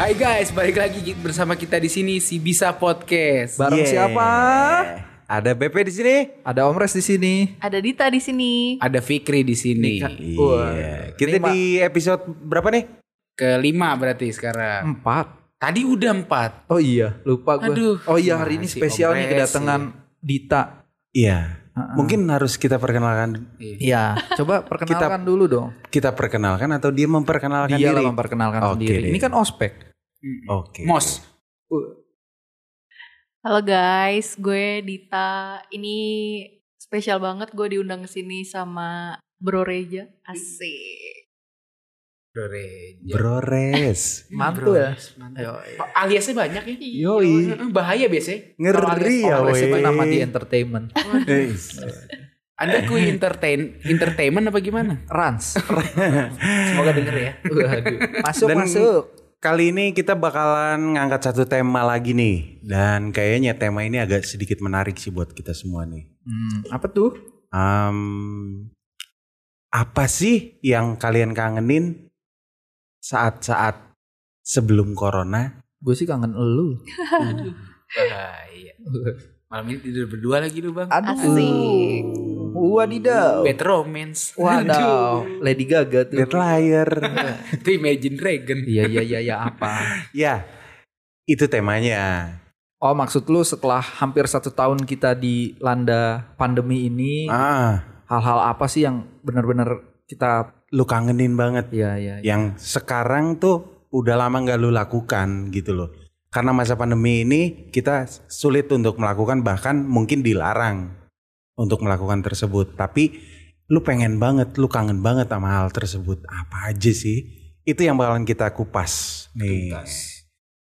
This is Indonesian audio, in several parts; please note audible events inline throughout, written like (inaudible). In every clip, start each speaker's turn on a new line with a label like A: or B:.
A: Hai guys, balik lagi bersama kita di sini si Bisa Podcast.
B: Bareng
C: Yeah.
B: siapa?
C: Iya. Ada BP di sini.
B: Ada Om Res di sini.
D: Ada Dita di sini.
A: Ada Fikri di sini.
C: Iya. Kita
B: Ini, Mak.
C: di episode berapa nih?
A: Kelima berarti sekarang.
B: Empat.
A: Tadi udah empat.
B: Oh iya, lupa gue.
A: Aduh.
B: Oh iya, hari ini
A: Masih
B: spesial
A: Om
B: nih
A: Res,
B: kedatangan Dita.
C: Iya. Mungkin harus kita perkenalkan
B: Iya, coba perkenalkan (laughs) dulu dong.
C: kita perkenalkan atau dia memperkenalkan diri.
B: Dia lah memperkenalkan
C: Oke
B: Iya, sendiri.
C: deh.
B: Ini kan ospek.
C: Oke.
A: Mos.
D: Halo guys, gue Dita. Ini spesial banget gue diundang ke sini sama Bro Reja. Asik.
A: Bro.
C: Bro
B: (laughs)
C: Res.
B: Mantul ya.
A: Aliasnya banyak ya.
C: Yoi.
A: Heeh, Bahaya biasanya. Kalau
C: Ngeri
A: alias
C: ya
B: Om Res
C: weh.
B: itu nama
C: (laughs)
B: di entertainment.
C: Eh,
A: Anda kui entertain, entertainment apa gimana?
B: Rans.
A: Semoga denger ya.
B: (laughs) Waduh. Masuk,
C: Dan-
B: masuk.
C: Kali ini kita bakalan ngangkat satu tema lagi nih. Dan kayaknya tema ini agak sedikit menarik sih buat kita semua nih.
B: Hmm, apa tuh?
C: Em, apa sih yang kalian kangenin saat-saat sebelum corona?
B: Gue sih kangen elu.
A: Bahaya. Malam ini tidur berdua lagi lu bang.
D: Asik.
B: Wadidaw.
A: Bad romance.
B: Wadaw. Lady Gaga tuh.
C: Deadlier.
A: (laughs) Itu Imagine Dragon.
B: Iya, iya, iya, iya. Apa?
C: ya, itu temanya.
B: Oh maksud lu setelah hampir satu tahun kita dilanda pandemi ini
C: Ah,
B: hal-hal apa sih yang benar-benar kita
C: lu kangenin banget.
B: ya ya ya.
C: Yang sekarang tuh udah lama nggak lu lakukan gitu loh. Karena masa pandemi ini kita sulit untuk melakukan bahkan mungkin dilarang untuk melakukan tersebut. Tapi lu pengen banget, lu kangen banget sama hal tersebut. Apa aja sih? Itu yang bakalan kita kupas nih.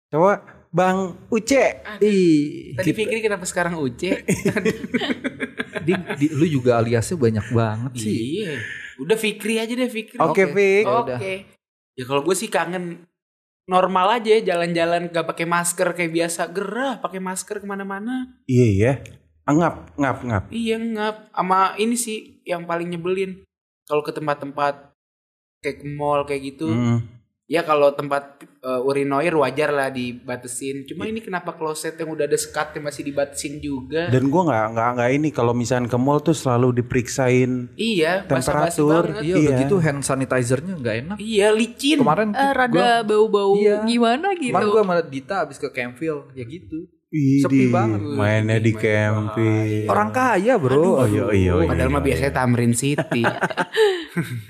C: Coba Bang Uce.
B: Ih,
A: Tadi pikir kenapa sekarang Uce?
B: di, di, lu juga aliasnya banyak banget sih.
A: iya. Udah Fikri aja deh Fikri.
C: Oke, Fik.
A: Oke.
B: Ya
A: Oh.
B: udah.
A: Ya kalau gue sih kangen normal aja ya, jalan-jalan gak pakai masker kayak biasa gerah pakai masker kemana-mana
C: Iya ya. Ngap, ngap, ngap.
A: iya ngap sama ini sih yang paling nyebelin kalau ke tempat-tempat kayak ke mall kayak gitu
C: Mm.
A: ya kalau tempat eh, urinoir wajar lah dibatesin cuma ini kenapa kloset yang udah ada sekatnya masih dibatesin juga
C: Dan gua nggak nggak nggak ini kalau misalkan ke mall tuh selalu diperiksain.
A: iya basa-basi
C: Temperatur,
A: banget.
C: Iya.
B: Iya, udah gitu hand sanitizernya nggak enak.
A: iya licin
B: Kemarin
D: Eh,
B: gitu.
D: rada bau-bau
B: Iya.
D: gimana
B: gue
D: gitu.
B: kemarin gua sama Dita abis ke Campfield ya gitu.
C: Idih,
B: banget.
C: Mainnya di
A: Main
C: camping.
B: Orang kaya
C: Oh
B: bro,
C: iya iya. iya,
A: Padahal mah
C: iya.
A: biasanya Tamrin City.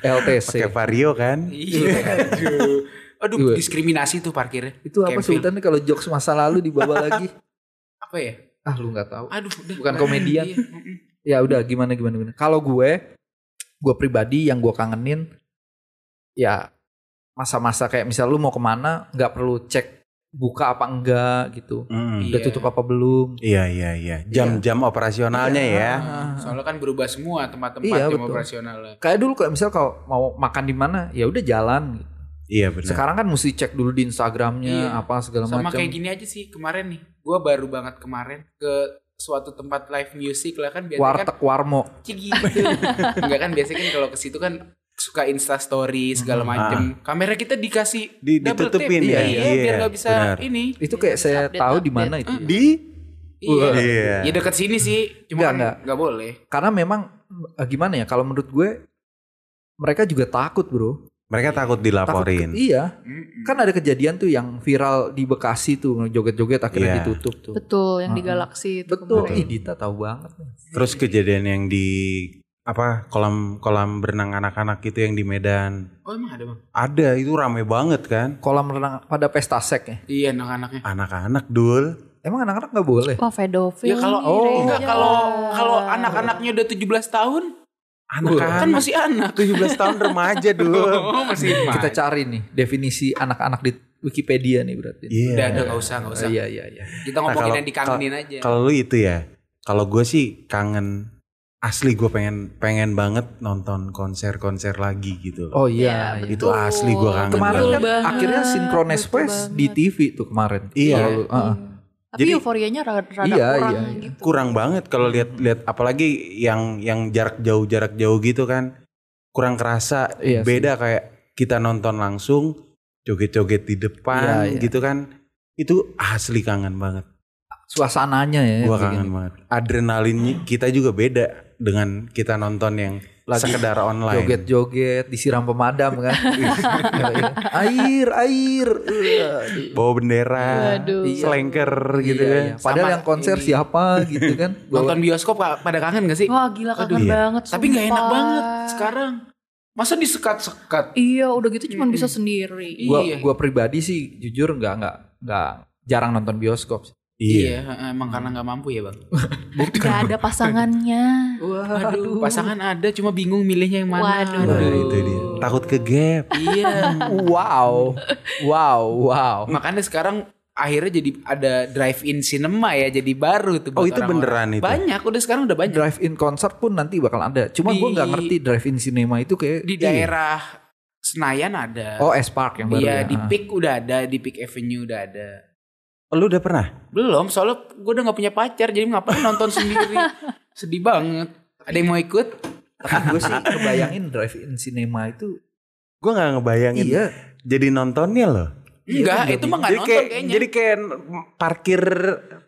C: pakai
B: LTC.
C: vario kan?
A: iya. Aduh. Aduh,
B: Iya.
A: diskriminasi tuh parkirnya.
B: Itu apa
A: Campfield.
B: sebutannya kalau jokes masa lalu dibawa lagi? (laughs)
A: Apa ya?
B: Ah lu nggak tahu.
A: Aduh, udah.
B: Bukan komedian.
A: Iya, mm-mm.
B: ya udah gimana gimana gimana kalau gue gue pribadi yang gue kangenin ya masa-masa kayak misal lu mau kemana nggak perlu cek buka apa enggak gitu
C: Mm.
B: udah
A: Iya.
B: tutup apa belum
C: Iya iya iya. Jam-jam operasionalnya
A: Iya.
C: ya.
B: Ah.
A: Soalnya kan berubah semua tempat-tempat
B: Iya,
A: jam
B: betul.
A: operasionalnya.
B: kayak dulu kayak misal kalau mau makan di mana ya udah jalan gitu.
C: Iya benar.
B: sekarang kan mesti cek dulu di instagramnya
A: Iya.
B: apa segala
A: Sama
B: macam
A: kayak gini aja sih kemarin nih. Gua baru banget kemarin ke suatu tempat live music lah kan biasanya kan
B: warteg warmo
A: cigi gitu. Enggak kan biasanya kan kalau ke situ kan suka insta story
B: Hmm.
A: segala
B: Ah.
A: macem kamera kita dikasih
C: Di-
A: double tap.
C: ditutupin
A: iya,
C: ya?
A: iya,
C: Iya,
A: biar nggak bisa
C: benar.
A: ini
B: itu kayak
D: Terus
B: saya
D: update,
B: tahu di
D: update.
B: mana itu
A: Mm.
B: ya.
C: Di
A: iya
C: Iya.
A: ya dekat sini sih cuma
B: Nggak,
A: kan
B: nggak.
A: nggak boleh
B: karena memang eh, gimana ya kalau menurut gue mereka juga takut bro
C: mereka takut
B: takut ke-
C: dilaporin.
B: iya
A: Mm-mm.
B: kan ada kejadian tuh yang viral di Bekasi tuh joget-joget
C: Iya.
B: akhirnya ditutup tuh.
D: Betul, yang di
B: Mm-mm.
D: galaksi itu
B: Betul.
D: kemarin.
B: Ih, Dita tahu banget. nih.
C: Terus kejadian yang di apa kolam kolam berenang anak-anak gitu yang di Medan.
A: oh emang ada bang
C: Ada itu rame banget kan?
B: Kolam renang pada pesta sek ya.
A: iya anak-anaknya
C: Anak-anak dul.
B: Emang anak-anak nggak boleh.
D: Wah, pedofil.
A: Ya kalau
D: nih,
B: Iya. Oh.
D: Reja.
A: enggak kalau
D: Iya.
A: kalau anak-anaknya udah 17 tahun kan
C: Anak-anak
A: masih
C: (laughs)
A: anak.
C: 17 tahun remaja
A: (laughs)
C: dul.
A: Oh, masih
B: Kita
A: Kita
B: cari nih definisi anak-anak di Wikipedia nih berarti.
C: Iya. Nah,
A: udah udah enggak usah, enggak usah.
B: Iya iya iya.
A: Kita ngomongin
C: kalau-
A: yang dikangenin aja.
C: Kalau lu itu ya, kalau gue sih kangen asli gue pengen pengen banget nonton konser-konser lagi gitu loh.
B: Oh iya.
D: Ya,
B: iya.
C: Itu asli gua kangen
B: Kemarin
C: Betul
B: kan akhirnya sinkronis Fest di TV tuh kemarin.
C: Iya.
B: Lalu, uh-uh.
D: Tapi
C: Jadi-
D: euforianya rada, rada
B: Iya,
D: kurang
B: iya, iya.
D: gitu.
C: Kurang banget kalau lihat-lihat apalagi yang yang jarak jauh jarak jauh gitu kan. Kurang kerasa
B: Iya sih.
C: beda kayak kita nonton langsung joget-joget di depan
B: Iya, iya.
C: gitu kan. Itu asli kangen banget.
B: Suasananya ya.
C: Gua kan
B: kayak
C: kangen
B: gini.
C: banget. Adrenalinnya kita juga beda dengan kita nonton yang
B: Lagi
C: sekedar online.
B: Joget-joget, disiram pemadam
C: (laughs)
B: kan. Iya. air, air. Iya. Aduh.
C: Bawa bendera,
D: Waduh.
C: selengker gitu
B: Iya,
C: kan.
B: iya. Padahal
A: Sama
B: yang konser
A: ini.
B: siapa
A: (laughs)
B: gitu kan.
A: Nonton bioskop pa- pada kangen gak sih?
D: Wah gila kangen
C: Aduh, iya.
D: banget.
A: Tapi nggak enak
D: Oh, sumpah.
A: banget sekarang. Masa disekat-sekat?
D: Iya udah gitu cuman bisa
A: Mm-mm.
D: sendiri.
B: gua
A: iya.
B: gua pribadi sih jujur nggak nggak nggak jarang nonton bioskop. sih.
C: Iya.
A: emang karena nggak mampu ya
D: (laughs)
A: bang.
D: Gak ada pasangannya.
A: Aduh, pasangan ada cuma bingung milihnya yang mana.
D: Waduh.
C: Nah, itu dia. Takut ke gap.
A: Iya.
B: Wow, wow, wow.
A: Makanya sekarang akhirnya jadi ada drive-in cinema ya jadi baru tuh.
C: Oh,
A: buat
C: itu
A: orang-orang.
C: beneran itu.
A: Banyak udah sekarang udah banyak
B: Drive-in konser pun nanti bakal ada. Cuma gua
A: Di-
B: nggak ngerti drive-in cinema itu kayak
C: Iya.
A: di daerah Senayan ada.
B: Oh, S Park yang baru.
A: Iya
B: ya.
C: Ah.
A: di Peak udah ada, di Peak Avenue udah ada.
C: Oh, Lu udah pernah?
A: Belum, soalnya gue udah gak punya pacar, jadi ngapain nonton
C: (laughs)
A: sendiri? Sedih banget. Ada yang mau ikut?
B: Tapi gue sih kebayangin drive-in cinema itu.
C: Gue nggak ngebayangin.
B: Iya.
C: Jadi nontonnya loh.
A: Enggak, Ah, itu mah gak
C: Iya, kan
A: nonton
C: jadi kayak,
A: kayaknya.
C: Jadi kayak parkir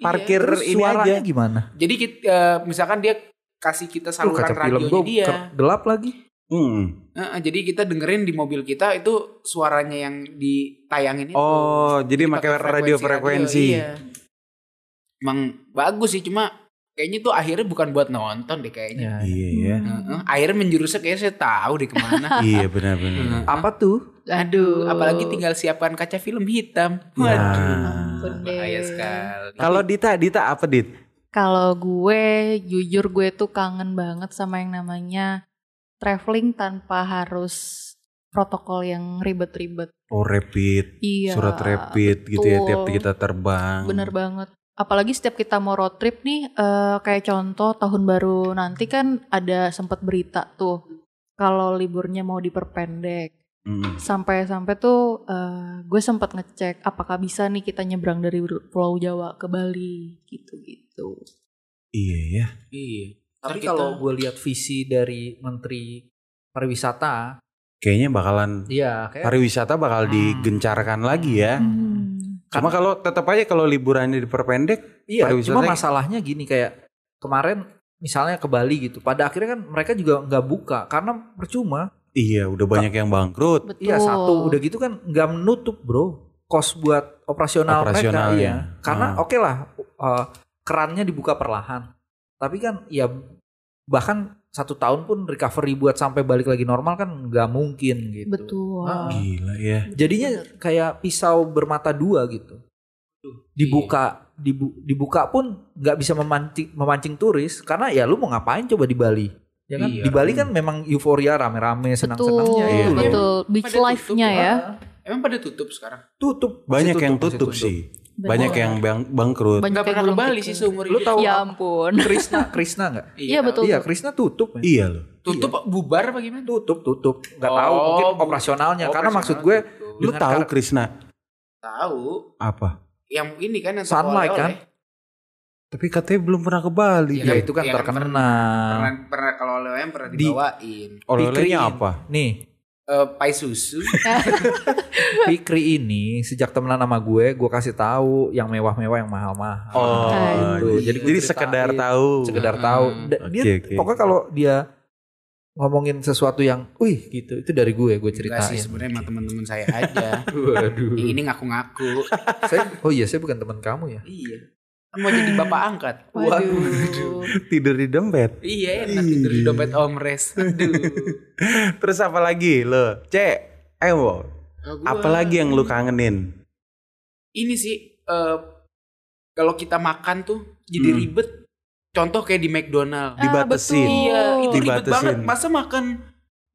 C: parkir
B: Terus
C: ini aja.
B: suaranya gimana?
A: Jadi kita, eh, misalkan dia kasih kita
B: Lu
A: saluran
B: kaca film
A: radionya
B: gue
A: dia.
B: gelap lagi.
C: Hmm.
A: Heeh, jadi kita dengerin di mobil kita itu suaranya yang ditayangin itu.
C: Oh, jadi
A: Dipakai
C: pakai radio frekuensi.
A: radio, iya. Emang bagus sih, cuma kayaknya tuh akhirnya bukan buat nonton deh kayaknya.
B: Ya.
C: Iya, iya.
A: Heeh, akhirnya menjurusnya kayaknya saya tahu deh kemana.
B: (laughs)
C: Iya benar-benar. (laughs)
A: Heeh.
B: Apa tuh?
A: Aduh, apalagi tinggal siapkan kaca film hitam.
B: Iya.
C: Nah.
A: Waduh, bahaya sekali.
C: Kalau Dita, Dita apa Dit?
D: Kalau gue jujur gue tuh kangen banget sama yang namanya traveling tanpa harus protokol yang ribet-ribet.
C: Oh rapid,
D: Iya.
C: surat rapid gitu ya
D: betul.
C: tiap kita terbang.
D: Bener banget. Apalagi setiap kita mau road trip nih, eh, kayak contoh tahun baru nanti kan ada sempat berita tuh kalau liburnya mau diperpendek.
C: Mm.
D: Sampai-sampai tuh eh, gue sempat ngecek apakah bisa nih kita nyebrang dari Pulau Jawa ke Bali gitu-gitu.
C: Iya ya.
A: Iya.
B: Tapi
A: Ntar
B: kalau
A: kita-
B: gue lihat visi dari Menteri Pariwisata,
C: Kayaknya bakalan
B: iya kayak
C: pariwisata bakal
B: Hmm.
C: digencarkan lagi
B: Eh.
C: ya.
D: Hmm.
C: Cuma
B: Karena-
C: kalau tetap aja kalau liburannya diperpendek,
B: Iya,
C: Pariwisata-
B: cuma masalahnya gini kayak kemarin misalnya ke Bali gitu. Pada akhirnya kan mereka juga nggak buka karena percuma.
C: iya udah banyak yang bangkrut.
D: Betul.
B: Iya satu udah gitu kan nggak menutup bro. Kos buat operasional,
C: Operasional
B: mereka.
C: ya.
B: Iya. Karena
C: Ah.
B: oke lah eh, kerannya dibuka perlahan. Tapi kan ya bahkan satu tahun pun recovery buat sampai balik lagi normal kan nggak mungkin gitu.
D: Betul.
B: Ah.
C: Gila ya.
B: Jadinya kayak pisau bermata dua gitu. dibuka
C: iya.
B: dibu- dibuka pun nggak bisa memancing memancing turis karena ya lu mau ngapain coba di Bali ya kan
A: Iya.
B: di Bali kan memang euforia rame-rame senang-senangnya
C: Iya,
B: gitu.
D: betul. Beach
A: Pada
D: life-nya
A: tutup,
D: ya.
A: Emang pada tutup sekarang.
B: tutup
C: Banyak
B: masih
C: yang
B: masih
C: tutup sih. Banyak
D: Betul.
C: yang bang- bangkrut.
D: Banyak
A: Enggak
D: yang
A: pernah ke
D: belum
A: Bali
D: tutup.
A: sih seumur
B: Lu
A: hidup.
B: tahu
D: (laughs) Ya
A: (laughs)
D: ampun.
B: Krishna Krishna nggak
D: Iya,
A: tahu.
D: betul.
B: iya Krishna tutup men.
C: Iya loh.
A: Tutup bubar apa gimana?
B: tutup tutup nggak
A: Oh,
B: tahu mungkin
A: bu- Oh,
B: operasionalnya Ya, karena
A: personal
B: maksud gue
A: tutup.
C: Lu
B: Dengan
C: tahu
B: kar-
C: Krisna
A: tahu
C: apa?
A: yang ini kan yang
B: Sunlight
A: oleh-oleh.
B: kan?
C: Tapi katanya belum pernah ke Bali.
A: Iya,
B: ya
A: kan?
B: itu kan
A: Iya, kan Pernah
B: terkenal
A: pernah kalau oleh-oleh pernah
B: Di-
A: dibawain.
C: Oleh-olehnya
B: Pikirin.
C: apa?
B: nih
A: Eh, pai
B: (laughs)
A: susu.
B: Fikri ini sejak temenan sama gue gue kasih tahu yang mewah-mewah yang mahal-mahal
C: Oh,
B: Gitu.
C: jadi,
B: gue
C: jadi
B: ceritain.
C: sekedar tahu.
B: sekedar
A: Hmm.
B: tahu. Da-
C: Oke,
B: dia
C: oke.
B: pokoknya kalau dia ngomongin sesuatu yang, wih gitu, itu dari gue, gue
A: Enggak
B: ceritain.
A: sih sebenarnya emang teman-teman saya aja.
B: (laughs) Waduh.
A: yang ini
B: (laughs)
A: ngaku-ngaku.
B: Saya- oh iya, saya bukan teman kamu ya.
A: iya. Kan Mau jadi bapak angkat.
D: Waduh.
C: Tidur di dompet. (laughs)
A: Iya enak tidur di
C: Iya.
A: dompet
C: (laughs)
A: omres. Aduh.
C: Terus apa lagi lo? Cek, ayo. Bo. (laughs)
A: Kalau gua-
C: Apa lagi yang lu kangenin?
A: Ini sih eh, kalau kita makan tuh jadi
C: Hmm.
A: ribet. Contoh kayak di McDonald.
D: Ah,
C: Dibatasin.
D: betul.
A: Iya, itu ribet
C: Dibatasin.
A: banget. Masa makan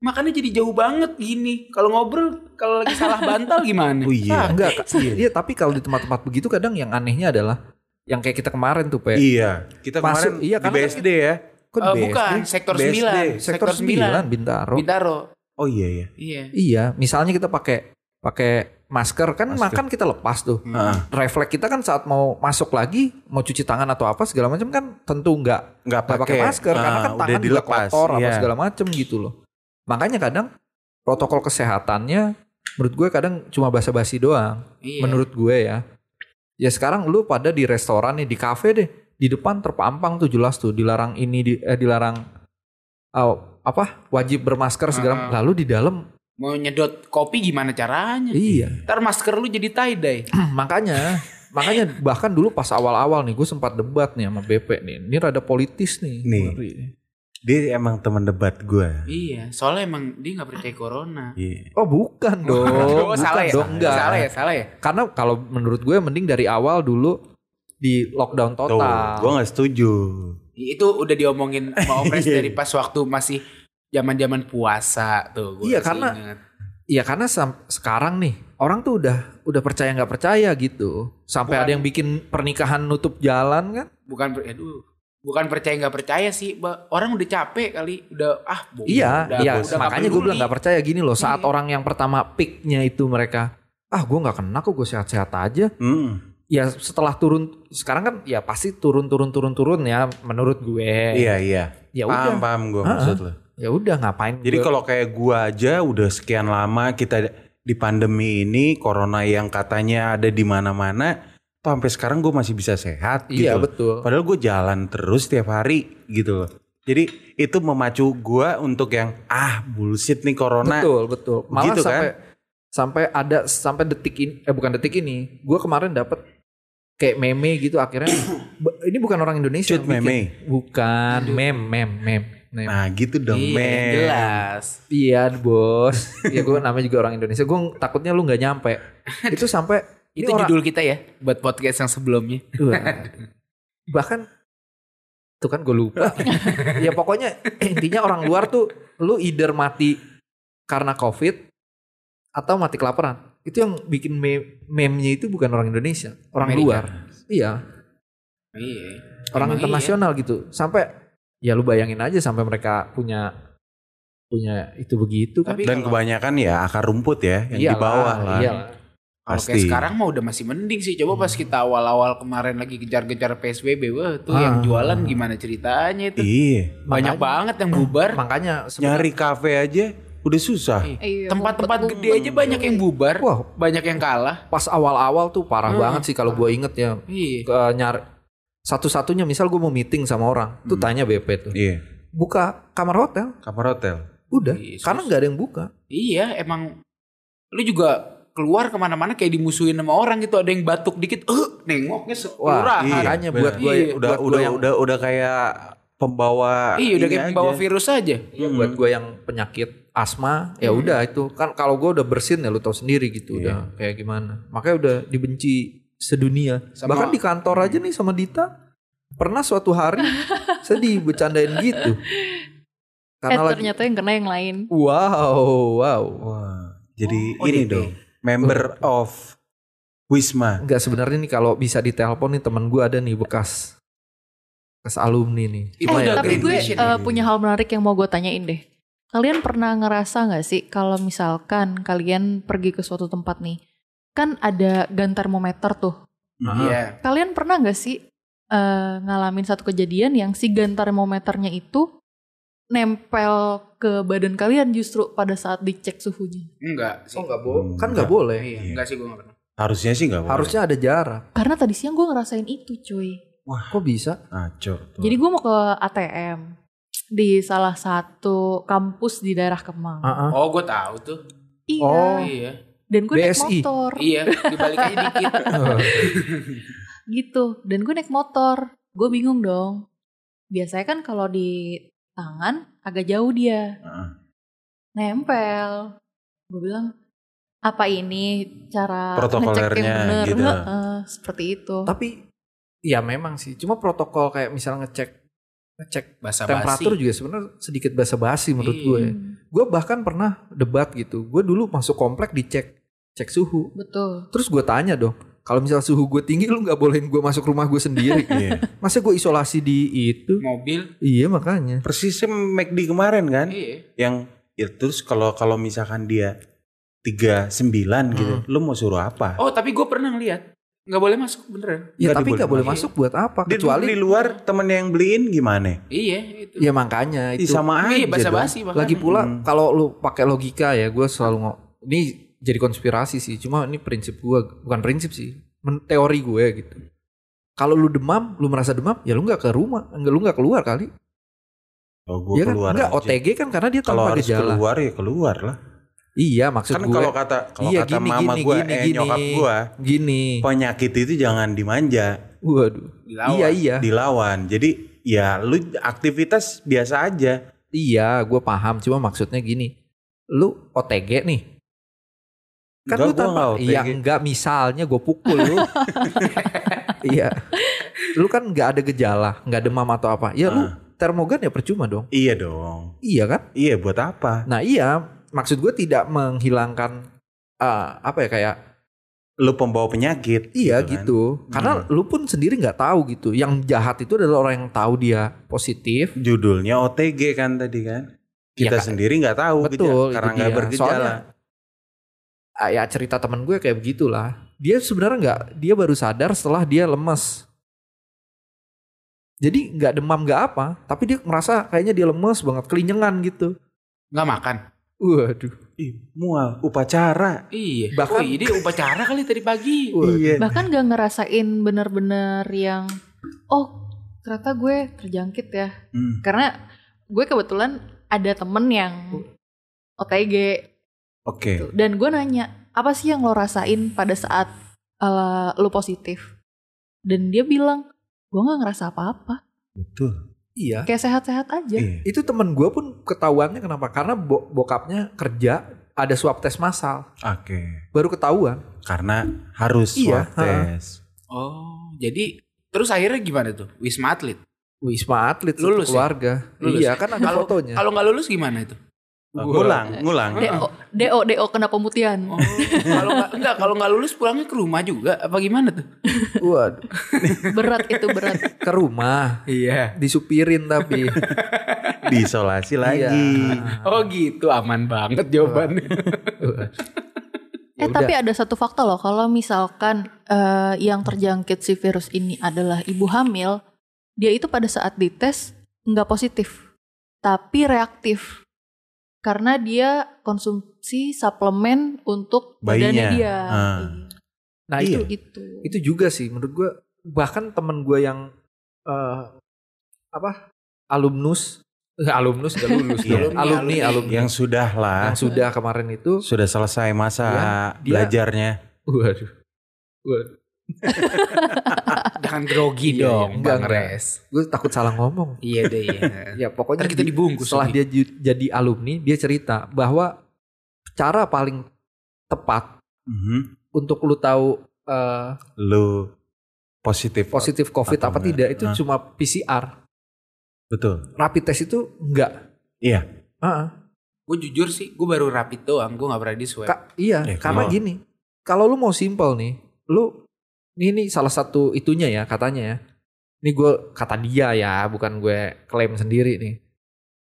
A: makannya jadi jauh banget gini. Kalau ngobrol kalau lagi
C: (laughs)
A: salah bantal gimana? Ah,
C: Oh iya.
B: enggak, Kak.
C: Iya.
B: Iya, tapi kalau di tempat-tempat begitu kadang yang anehnya adalah yang kayak kita kemarin tuh, Pe.
C: Iya. Kita
B: Masuk,
C: kemarin
B: iya,
C: di
B: karena kan
C: BSD ya.
B: Kok
A: Eh,
B: di BSD?
A: bukan, sektor
C: BSD.
A: 9.
B: Sektor 9 Bintaro.
A: Bintaro.
C: Oh iya iya.
A: Iya.
B: Iya, misalnya kita pakai pakai masker
C: Masker.
B: kan
C: Hmm. Ah.
B: makan kita lepas tuh.
C: Heeh.
B: Refleks kita kan saat mau masuk lagi, mau cuci tangan atau apa segala macam kan tentu enggak
C: Nggak
B: nggak pakai masker karena
C: Ah,
B: kan tangan juga kotor apa
C: Iya.
B: segala macem gitu loh. Makanya kadang protokol kesehatannya menurut gue kadang cuma basa-basi doang
A: Iya.
B: menurut gue ya ya sekarang lu pada di restoran nih di kafe deh di depan terpampang tuh jelas tuh dilarang ini di, eh, dilarang oh, apa wajib bermasker segala
A: Ah.
B: lalu di dalam
A: mau nyedot kopi gimana caranya?
B: iya
A: Ntar masker lu jadi tie dye.
B: (clears throat) makanya makanya bahkan dulu pas awal-awal nih gue sempat debat nih sama BP nih ini rada politis nih
C: Nih.
B: Ngeri.
C: Dia emang teman debat gue.
A: Iya, soalnya emang dia nggak percaya corona.
C: Iya.
B: oh bukan (laughs) dong
A: Oh,
B: bukan
A: salah ya?
B: dong enggak
A: Salah ya, salah ya.
B: karena kalau menurut gue mending dari awal dulu di lockdown
C: Tuh,
B: total
C: gue nggak setuju.
A: Ya, Itu udah diomongin
B: (laughs)
A: sama Opres
C: Iya.
A: dari pas waktu masih zaman-zaman puasa tuh.
B: Iya,
A: masih
B: karena-
A: ingat.
B: ya karena sam- sekarang nih orang tuh udah udah percaya nggak percaya gitu sampai
A: Bukan.
B: ada yang bikin pernikahan nutup jalan kan
A: bukan per- aduh, bukan percaya nggak percaya sih, Ba- orang udah capek kali, udah ah bohong,
B: iya
A: udah-
B: iya
A: udah nggak
B: makanya gue
A: peduli.
B: bilang nggak percaya gini loh saat
A: Iya.
B: orang yang pertama picknya itu mereka ah gue nggak kena kok gue sehat-sehat aja
C: Mm.
B: ya setelah turun sekarang kan ya pasti turun turun turun turun ya menurut gue
C: Iya iya.
B: ya
C: paham
B: udah
C: paham gue
B: Ha-ha.
C: maksud lo.
B: ya udah ngapain
C: Jadi
B: gue-
C: kalau kayak gua aja udah sekian lama kita di pandemi ini corona yang katanya ada di mana-mana, tuh sampai sekarang gua masih bisa sehat
B: iya
C: gitu. loh.
B: betul
C: Padahal gua jalan terus tiap hari gitu loh. Jadi itu memacu gua untuk yang ah bullshit nih corona.
B: Betul, betul. Malah
C: Begitu, kan?
B: sampai sampai ada sampai detik ini eh bukan detik ini, gue kemarin dapet kayak meme gitu
C: (coughs)
B: akhirnya b- ini bukan orang Indonesia
C: Shoot
B: yang bikin.
C: meme.
B: Bukan meme meme meme. meme.
C: Nah, gitu dong,
A: Iya,
C: men.
A: jelas.
B: Iya, Bos.
C: (laughs)
B: ya gue namanya juga orang Indonesia. Gue takutnya lu nggak nyampe. Itu sampai ini
A: Itu
B: orang-
A: judul kita ya buat podcast yang sebelumnya.
B: Wah. Gitu kan. bahkan tuh kan gue
A: (laughs)
B: lupa ya pokoknya intinya orang luar tuh lu either mati karena covid atau mati kelaparan itu yang bikin meme meme-nya itu bukan orang Indonesia orang
A: Amerika.
B: luar iya
A: Iya.
B: orang
A: Emang
B: internasional gitu sampai ya lu bayangin aja sampai mereka punya punya itu begitu kan
A: Tapi
C: Dan
A: kalau,
C: kebanyakan ya akar rumput ya yang
B: Iyalah, iya.
C: di bawah lah.
B: iyalah.
A: kalau kayak
C: Pasti.
A: sekarang mah udah masih mending sih. Coba pas kita awal-awal kemarin lagi kejar-kejar PSBB, wah tuh yang
B: Hmm. Ah.
A: jualan gimana ceritanya itu.
C: Iya.
A: Banyak
B: Makanya-
A: banget yang bubar.
B: makanya sebenarnya-
C: Nyari kafe aja udah susah.
A: Iya.
D: Iya,
A: Tempat-tempat
D: ngumpet-
A: gede aja
D: ngumpet.
A: banyak yang bubar,
B: wah
A: banyak yang kalah.
B: pas awal-awal tuh parah
A: Hmm.
B: banget sih kalau gue inget ya
A: Iya.
B: ke nyari satu-satunya misal gue mau meeting sama orang tuh
C: Hmm.
B: tanya BP tuh
C: Iya.
B: buka kamar hotel
C: Kamar hotel.
B: udah
A: Yesus.
B: karena nggak ada yang buka
A: Iya, emang lu juga keluar kemana-mana kayak dimusuhin sama orang gitu. Ada yang batuk dikit, eh nengoknya
B: wah
A: sekurang.
C: iya,
B: makanya
C: benar.
B: buat gue
A: Iya,
C: udah
B: buat
C: udah
B: gua yang,
C: udah udah kayak pembawa
A: Iya, udah
C: ini
A: kayak bawa
C: aja.
A: virus aja.
B: iya, buat
C: Hmm.
B: gue yang penyakit asma ya
A: Hmm.
B: udah itu kan kalau gue udah bersin ya lu tau sendiri gitu
C: Iya.
B: udah kayak gimana makanya udah dibenci sedunia
A: Sama-
B: bahkan di kantor
C: Hmm.
B: aja nih sama Dita pernah
C: (laughs)
B: suatu hari sedih bercandain gitu
D: Eh
B: karena lagi
D: ternyata yang kena yang lain.
B: wow wow
C: Wah, jadi
A: Oh,
C: ini
A: ODP.
C: dong, member of Wisma.
B: Enggak sebenarnya nih kalau bisa ditelepon nih teman gue ada nih bekas bekas alumni nih. Iya,
A: Itu
D: eh,
A: udah
D: tapi gue
A: graduation
D: eh,
C: ya.
D: punya hal menarik yang mau gue tanyain deh. Kalian pernah ngerasa nggak sih kalau misalkan kalian pergi ke suatu tempat nih, kan ada gan termometer tuh.
C: Nah,
A: Iya.
D: Kalian pernah nggak sih eh, ngalamin satu kejadian yang si gan termometernya itu nempel ke badan kalian justru pada saat dicek suhunya?
A: Enggak sih.
B: Oh nggak boleh,
C: Enggak.
B: kan nggak boleh.
A: Iya, enggak sih gue nggak pernah.
C: Harusnya sih nggak boleh.
B: Harusnya ada jarak.
D: Karena tadi siang gue ngerasain itu, cuy.
B: Kok
A: (laughs)
B: bisa?
C: ngaco. tuh.
D: Jadi gue mau ke ATM di salah satu kampus di daerah Kemang.
B: Heeh.
A: Oh, gue tahu tuh.
D: Iya.
B: Oh.
A: Iya.
D: Dan gue naik
B: BSI.
D: motor.
A: Iya, dibalik aja dikit.
D: gitu dan gue naik motor gue bingung dong biasanya kan kalau di tangan agak jauh dia
C: Heeh.
D: nempel gue bilang apa ini cara ngecek
C: Protokolernya
D: yang bener
C: gitu.
D: Heeh, seperti itu
B: Tapi ya memang sih. Cuma protokol kayak misalnya ngecek ngecek
A: Bahasa basi.
B: temperatur juga sebenarnya sedikit basa-basi menurut
A: Iya.
B: gue.
D: Hmm,
B: Gue bahkan pernah debat gitu. Gue dulu masuk komplek dicek cek suhu.
D: betul
B: Terus gue tanya dong, kalau misalnya suhu gue tinggi lu nggak bolehin gue masuk rumah gue sendiri.
C: Iya.
B: Masa gue isolasi di itu?
A: Mobil.
B: Iya makanya.
C: Persisnya McD kemarin kan,
A: Iya.
C: yang ya terus kalau kalau misalkan dia 39 gitu,
B: Hmm.
C: lu mau suruh apa?
A: Oh, tapi gue pernah ngeliat. Nggak boleh masuk beneran.
B: Ya
C: Nggak
B: tapi nggak boleh masuk buat apa?
C: Dia
B: kecuali
C: di luar temen yang beliin gimana?
A: Iya, itu.
B: ya makanya
C: Ih,
B: itu.
C: sama aja.
A: Iya,
C: dong.
A: basa basi
B: Lagi pula
C: Hmm.
B: kalau lu pakai logika ya, gue selalu ngomong. Ini jadi konspirasi sih. Cuma ini prinsip gue, bukan prinsip sih, men- teori gue gitu. Kalau lu demam, lu merasa demam, ya lu nggak ke rumah, enggak lu nggak keluar kali.
C: Kalau gue
B: Iya kan?
C: Oh, keluar
B: Enggak
C: aja.
B: OTG kan karena dia
C: Kalau
B: tanpa
C: harus
B: gejala.
C: keluar ya keluar lah.
B: Iya
C: kan
B: maksud gue.
C: kalau kata kalau
B: Iya,
C: kata
B: gini,
C: mama
B: gini,
C: gue,
B: gini,
C: eh
B: gini.
C: nyokap gue,
B: Gini.
C: penyakit itu jangan dimanja,
B: Waduh.
A: Dilawan.
B: Iya iya.
C: dilawan. Jadi ya lu aktivitas biasa aja.
B: Iya, gue paham. Cuma maksudnya gini, lu OTG nih.
C: Enggak,
B: Kan lu
C: gua
B: tanpa,
C: nggak OTG.
B: iya enggak misalnya gue pukul
C: (laughs)
B: lu. iya, lu kan nggak ada gejala, nggak demam atau apa. Ya lu
C: Ah.
B: termogan ya percuma dong.
C: Iya dong.
B: Iya kan?
C: Iya buat apa?
B: Nah iya, maksud gue tidak menghilangkan eh, apa ya kayak
C: Lu pembawa penyakit.
B: iya
C: kan.
B: gitu. Karena lu pun sendiri nggak tahu gitu. Yang jahat itu adalah orang yang tahu dia positif.
C: Judulnya OTG kan tadi kan. Kita
B: Iya, Kak.
C: sendiri nggak tahu
B: Betul,
C: gejala,
B: itu
C: karena nggak
B: dia.
C: bergejala.
B: Soalnya, ah, ya cerita temen gue kayak begitulah. Dia sebenarnya nggak, dia baru sadar setelah dia lemes. Jadi nggak demam nggak apa, tapi dia merasa kayaknya dia lemes banget, kelinyengan gitu.
A: Nggak makan.
B: Waduh,
C: Ih, mual upacara.
A: Iya.
B: Bahkan-
A: Bahkan ini upacara kali tadi pagi.
B: waduh.
C: Iya.
D: bahkan gak ngerasain bener-bener yang oh ternyata gue terjangkit ya
C: Hmm.
D: karena gue kebetulan ada temen yang OTG
C: Oke.
D: gitu. dan gue nanya apa sih yang lo rasain pada saat uh, lo positif dan dia bilang gue nggak ngerasa apa-apa
C: Betul.
B: iya.
D: kayak sehat-sehat aja
C: Iya.
B: Itu temen gue pun ketahuannya kenapa? Karena bo- bokapnya kerja ada swab tes massal,
C: Oke.
B: baru ketahuan.
C: Karena harus swab
B: Iya,
C: tes.
A: Oh, jadi terus akhirnya gimana tuh? Wisma atlet.
B: Wisma atlet satu
A: Lulus ya?
B: keluarga.
A: Lulus
B: Iya
A: ya?
B: kan ada
A: Kalau-
B: fotonya.
A: Kalau nggak lulus gimana itu?
C: Oh, ngulang, ngulang.
D: do do do kena pemutihan
A: Oh, kalau nggak enggak kalau nggak lulus pulangnya ke rumah juga apa gimana tuh?
B: Waduh,
D: (laughs) berat itu berat
C: (laughs)
B: ke rumah
A: Iya.
B: disupirin tapi
C: Diisolasi lagi.
B: Iya.
A: Oh gitu aman banget jawabannya.
B: Ya
D: eh tapi ada satu fakta loh kalau misalkan uh, yang terjangkit si virus ini adalah ibu hamil dia itu pada saat dites nggak positif tapi reaktif karena dia konsumsi suplemen untuk badannya
C: Bayinya.
D: dia
C: Ah.
D: Iya.
B: Nah
C: Iya.
B: itu
D: gitu.
B: itu juga sih menurut gue bahkan temen gue yang eh, apa alumnus Eh, alumnus gak (laughs) lulus
C: Iya.
B: dulu. alumni
A: Alumni.
B: alumni yang,
C: Yang sudah lah,
B: sudah kemarin itu
C: sudah selesai masa
B: Iya, dia-
C: belajarnya.
B: waduh
A: Oh, Jangan grogi
B: Iya,
A: dong,
B: enggak,
A: Bang
B: enggak.
A: Res.
B: gue takut salah ngomong
A: Iya deh iya.
B: (laughs) ya pokoknya
A: Ntar kita
B: di-
A: dibungkus
B: setelah
A: lagi.
B: dia ju- jadi alumni dia cerita bahwa cara paling tepat
C: Mhm.
B: untuk lu tahu eh,
C: Lu positif.
B: positif covid
C: Atau
B: apa
C: enggak.
B: tidak itu
C: Hah?
B: cuma PCR
C: Betul.
B: rapid test itu enggak
C: Iya.
B: Heeh.
A: Gue jujur sih, gue baru rapid doang, gue nggak pernah di swab.
B: Ka- iya,
C: Ya,
B: karena
C: kenapa?
B: gini. Kalau lu mau simple nih, lu ini, ini salah satu itunya ya katanya ya. Ini gue kata dia ya, bukan gue klaim sendiri nih.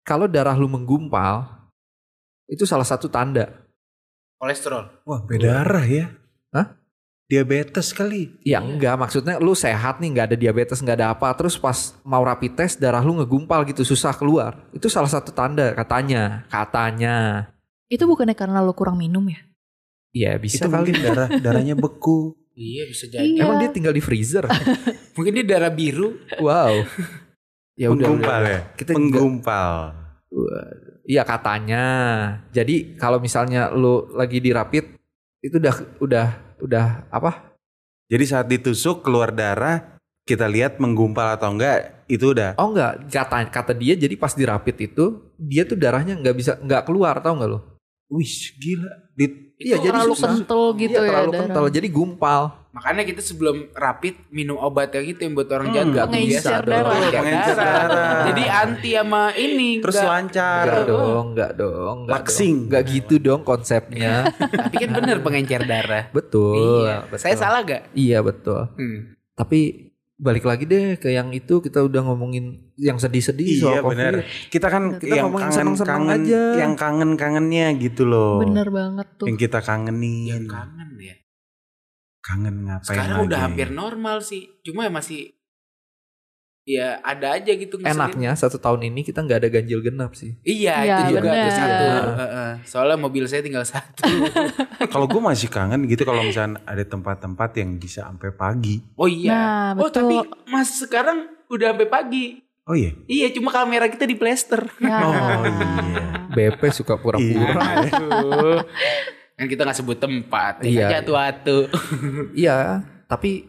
B: Kalau darah lu menggumpal, itu salah satu tanda.
A: Kolesterol.
C: Wah, berdarah ya.
B: Hah?
C: Diabetes kali.
B: Ya
D: Iya.
B: enggak, maksudnya lu sehat nih, nggak ada diabetes, nggak ada apa. Terus pas mau rapid test, darah lu ngegumpal gitu, susah keluar. Itu salah satu tanda katanya, katanya.
D: Itu bukannya karena lo kurang minum ya?
B: Iya bisa
C: Itu
B: kali.
C: mungkin darah darahnya (laughs) beku.
A: Iya bisa jadi.
D: Iya.
B: Emang dia tinggal di freezer.
A: Mungkin dia darah biru.
B: wow. Ya udah. udah.
C: Penggumpal ya.
B: Kita juga-
C: Penggumpal.
B: Iya katanya. Jadi kalau misalnya lu lagi di rapid itu udah udah udah apa?
C: Jadi saat ditusuk keluar darah, kita lihat menggumpal atau enggak itu udah
B: Oh enggak, kata kata dia jadi pas di rapid itu dia tuh darahnya nggak bisa nggak keluar tau nggak lo?
C: wih gila. Di-
B: Iya,
A: Itu
B: jadi
D: terlalu
B: susah.
D: kental
B: Iya,
D: gitu ya
B: terlalu
D: darah.
B: kental jadi gumpal.
A: Makanya kita sebelum rapid minum obat yang gitu yang buat orang
C: Hmm.
A: jaga tuh
D: Pengencer
A: biasa dong.
D: darah.
A: Pengencer
C: Pengencer darah.
A: Jadi anti sama ini.
C: terus
A: enggak.
C: lancar.
B: Enggak dong, enggak dong, enggak
C: Waxing.
B: dong. Enggak gitu dong konsepnya.
A: Tapi kan bener pengencer darah.
B: betul,
A: Iya.
B: betul.
A: Saya salah gak?
B: Iya betul.
A: Hmm.
B: Tapi balik lagi deh ke yang itu kita udah ngomongin yang sedih-sedih
C: Iya
B: soal COVID.
C: benar. Kita kan
B: Kita
C: yang
B: ngomongin
C: kangen,
B: seneng-seneng
C: kangen
B: aja.
C: yang kangen-kangennya gitu loh.
D: Bener banget tuh.
C: Yang
A: Ya
C: kita kangenin.
A: kangen ya.
C: kangen ngapain
A: Sekarang
C: Iya, lagi.
A: udah hampir normal sih. Cuma ya masih ya ada aja gitu ngeselin.
B: Enaknya satu tahun ini kita nggak ada ganjil genap
A: (laughs)
B: sih.
A: Iya,
D: Ya,
A: itu juga
D: bener.
A: tuh satu.
B: Iya.
A: Heeh. Soalnya mobil saya tinggal
D: (laughs)
A: satu.
C: Kalau gue masih kangen gitu kalau misalnya ada tempat-tempat yang bisa sampai pagi.
A: Oh iya.
D: Nah,
A: oh tapi
D: (laughs) betul.
A: Mas sekarang udah sampai pagi.
C: Oh iya.
A: Iya, cuma kamera kita di plaster.
D: Ya.
C: (laughs) Oh iya.
B: BP suka pura-pura.
A: Aduh. kan kita nggak sebut tempat.
B: Iya,
A: Iya. Jatuh-jatuh.
B: Iya, tapi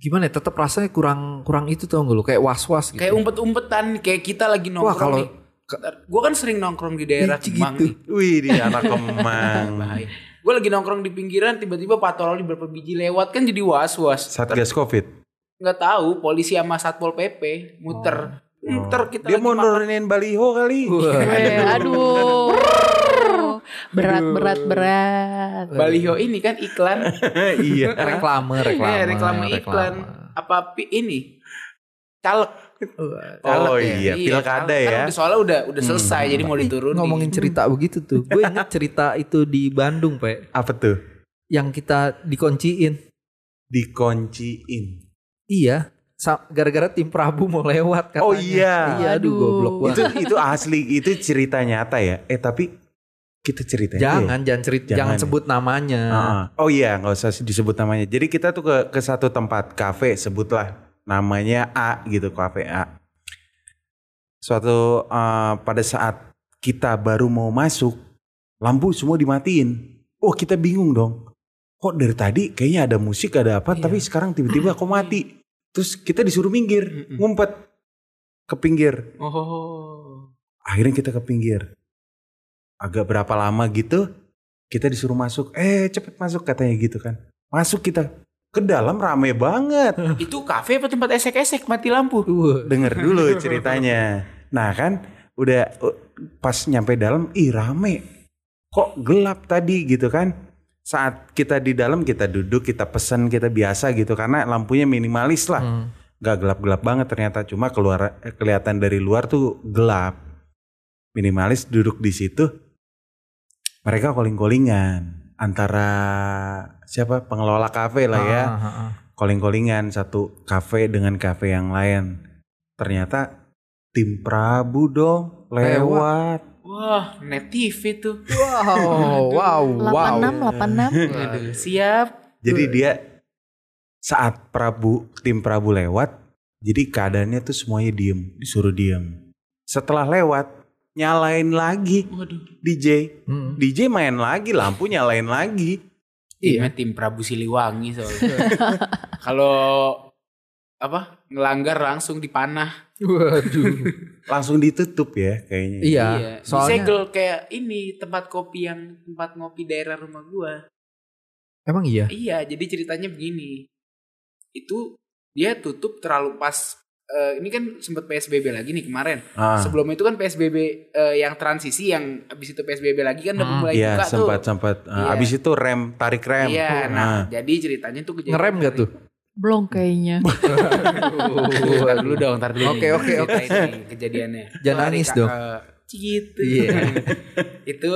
B: gimana ya? Tetap rasanya kurang kurang itu tau gak lu? Kayak was-was gitu.
A: Kayak umpet-umpetan, kayak kita lagi nongkrong.
B: kalau-
A: nih. gue kan sering nongkrong di daerah
B: Ih,
A: Kemang
B: gitu.
A: nih.
C: Wih di anak kemang.
A: Bahaya. Gue lagi nongkrong di pinggiran, tiba-tiba patroli berapa biji lewat kan jadi was-was.
C: Satgas Covid.
A: Nggak tahu polisi sama satpol pp muter.
B: Oh.
A: Muter kita
C: Dia
A: lagi
C: mau
A: makan.
C: nurunin baliho kali. (laughs)
B: Wah.
D: Weh, aduh. Berat, berat, berat.
A: Baliho ini kan iklan.
C: iya.
B: (laughs) reklame, reklame,
A: Iya, reklame iklan. Apa pi- ini? Caleg. Caleg
C: Oh
A: ya.
C: iya, pilkada
A: caleg. Kan
C: ya.
A: udah- soalnya udah udah selesai jadi mau diturunin.
B: Hmm. Ngomongin cerita begitu tuh. Gue inget cerita itu di Bandung, Pak.
C: Apa tuh?
B: Yang kita dikunciin.
C: Dikonciin.
B: Iya, sa- gara-gara tim Prabu mau lewat katanya.
C: Oh iya.
B: Iya, aduh
D: Aduh.
B: goblok
C: Itu
B: banget.
C: itu asli, itu cerita nyata ya. Eh tapi kita ceritain aja ya.
B: Jangan, jangan cerita, jangan,
C: Jangan.
B: sebut namanya.
C: Ah, Oh iya, nggak usah disebut namanya. Jadi kita tuh ke ke satu tempat kafe, sebutlah namanya A gitu, kafe A. Suatu eh, pada saat kita baru mau masuk, lampu semua dimatiin. Oh kita bingung dong. Kok dari tadi kayaknya ada musik ada apa,
B: Iya.
C: tapi sekarang tiba-tiba kok mati. Terus kita disuruh minggir,
A: Mm-mm.
C: ngumpet ke pinggir
A: Oh.
C: akhirnya kita ke pinggir agak berapa lama gitu kita disuruh masuk eh cepet masuk katanya gitu kan masuk kita ke dalam rame banget
A: Itu kafe apa tempat esek-esek mati lampu?
B: Wah,
C: denger dulu ceritanya nah kan udah uh, pas nyampe dalam ih rame kok gelap tadi gitu kan saat kita di dalam kita duduk kita pesan kita biasa gitu karena lampunya minimalis lah
B: hmm.
C: nggak gelap-gelap banget ternyata cuma keluar eh, kelihatan dari luar tuh gelap minimalis duduk di situ mereka koling-kolingan antara siapa pengelola kafe lah ya
B: Ah, ah, ah.
C: koling-kolingan satu kafe dengan kafe yang lain ternyata tim Prabu dong lewat
A: Wah, net TV tuh.
B: Wow, wow, wow.
A: Aduh,
D: 86, 86.
A: siap.
C: jadi dia saat Prabu tim Prabu lewat jadi keadaannya tuh semuanya diem disuruh diem setelah lewat nyalain lagi
A: Waduh.
C: DJ
B: Hmm.
C: DJ main lagi, lampu nyalain lagi.
B: Iya.
A: Timnya tim Prabu Siliwangi soalnya. (laughs) Kalau apa? Ngelanggar langsung dipanah.
B: Waduh.
C: Langsung ditutup ya kayaknya.
B: iya, soalnya
A: Disegel kayak ini tempat kopi yang tempat ngopi daerah rumah gua.
B: emang iya.
A: Iya, jadi ceritanya begini. Itu dia tutup terlalu pas eh, ini kan sempat PSBB lagi nih kemarin.
C: Ah,
A: Sebelum itu kan PSBB eh, yang transisi yang abis itu PSBB lagi kan udah
B: Hmm,
A: mulai
C: iya
A: buka
C: sempat
A: tuh.
C: sempat.
A: Iya.
C: Abis itu rem, tarik rem.
A: Iya, nah,
C: Ah.
A: jadi ceritanya tuh kejadian
B: Ngerem gak tuh?
D: Belum kayaknya.
A: Ntar dulu dong, ntar dulu.
B: Oh, Oke,
A: nih,
B: oke, oke.
A: ceritain nih Kejadiannya.
B: (laughs) Jangan
A: Itu hari
B: nangis
A: Ka-
B: dong.
A: eh, Gitu.
B: Iya.
A: (laughs) itu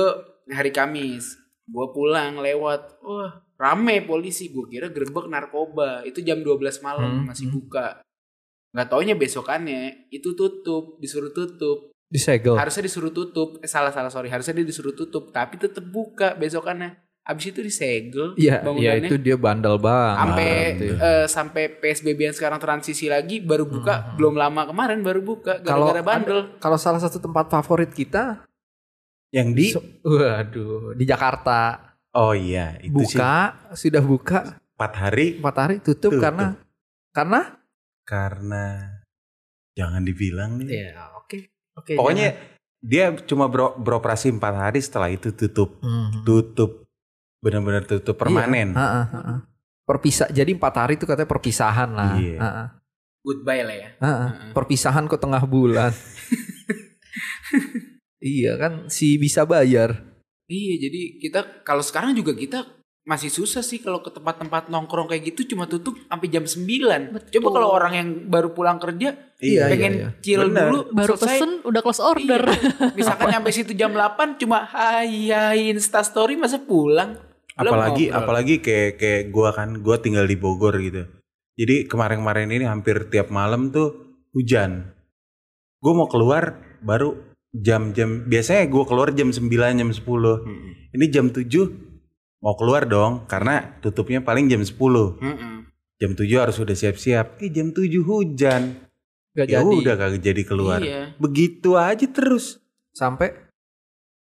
A: hari Kamis. Gue pulang lewat. Wah, rame polisi. Gue kira gerbek narkoba. Itu jam 12 malam
B: Hmm.
A: masih buka. Gak taunya besokannya itu tutup, disuruh tutup.
B: Disegel.
A: Harusnya disuruh tutup. Eh, salah salah sorry, harusnya dia disuruh tutup, tapi tetap buka besokannya. Abis itu disegel
B: Iya, iya
A: bangunannya.
B: itu dia bandel banget.
A: sampai
B: Gitu.
A: eh, sampai PSBB yang sekarang transisi lagi baru buka belum lama kemarin baru buka
B: Kalau
A: gara-gara bandel
B: Kalau salah satu tempat favorit kita,
C: Yang di
B: so- waduh, di Jakarta
C: Oh iya, itu sih
B: buka sudah buka
C: empat hari
B: empat hari tutup
C: Tutup.
B: karena karena
C: karena jangan
A: Iya,
C: dibilang nih.
B: ya oke oke
C: Pokoknya dia cuma bero- beroperasi empat hari setelah itu tutup. Tutup. Benar-benar
A: Iya.
C: tutup permanen.
B: perpisah jadi empat hari itu katanya perpisahan lah
C: Iya.
B: Ha-ha.
A: goodbye lah ya
B: Ha-ha.
A: Heeh.
B: perpisahan ke tengah
A: (laughs)
B: bulan iya kan si bisa bayar
A: iya jadi kita kalau sekarang juga kita masih susah sih kalau ke tempat-tempat nongkrong kayak gitu cuma tutup sampai jam 9
D: Betul.
A: coba kalau orang yang baru pulang kerja
B: Iya,
A: pengen
B: iya.
A: chill
C: Bener.
A: dulu
D: Baru
A: selesai.
D: pesen udah close order.
A: Iya. misalkan nyampe situ jam 8 cuma hai hai instastory masa pulang Belum
C: apalagi
A: ngobrol.
C: apalagi kayak kayak gua kan gua tinggal di Bogor gitu jadi kemarin-kemarin ini hampir tiap malam tuh hujan. Gue mau keluar baru jam-jam biasanya gue keluar jam 9 jam 10.
A: Mm-mm.
C: Ini jam 7 mau keluar dong karena tutupnya paling jam 10.
A: Mm-mm.
C: Jam 7 harus udah siap-siap. Eh jam 7 hujan.
B: Gak
C: Ya
B: jadi.
C: udah kagak jadi keluar.
A: Iya.
C: Begitu aja terus
B: Sampai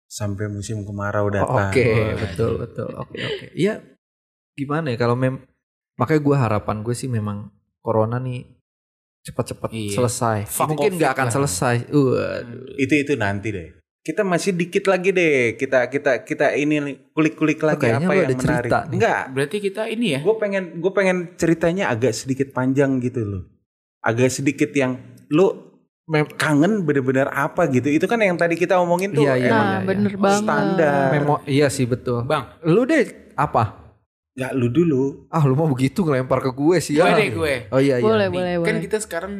C: sampai musim kemarau
B: Oh,
C: datang.
B: Oke,
A: Wah.
B: betul betul. Oke oke. Iya. Gimana ya kalau mem makanya gue harapan gue sih memang corona nih cepat-cepat
A: Iya.
B: selesai.
A: Fuck
B: Mungkin
A: COVID
B: nggak akan
A: lah.
B: selesai. Uh, Waduh.
A: Aduh.
C: Itu itu nanti deh. Kita masih dikit lagi deh. Kita kita kita ini kulik-kulik lagi
B: Oh, kayaknya
C: apa
B: lu
C: yang
B: ada cerita
C: menarik.
B: nih.
C: Enggak,
A: Berarti kita ini ya.
C: gue pengen gue pengen ceritanya agak sedikit panjang gitu loh agak sedikit yang lu
B: Mem-
C: kangen bener-bener apa gitu itu kan yang tadi kita omongin tuh
B: Iya, iya,
C: emang
D: nah,
B: iya.
D: bener banget.
C: standar
B: Memo iya sih betul.
A: Bang.
B: Lu deh apa?
C: nggak lu dulu
B: Ah lu mau begitu ngelempar ke gue sih
A: Gue
B: ya.
A: deh gue.
B: Oh iya iya.
D: Boleh,
A: Nih,
D: boleh,
A: kan
D: boleh.
A: kita sekarang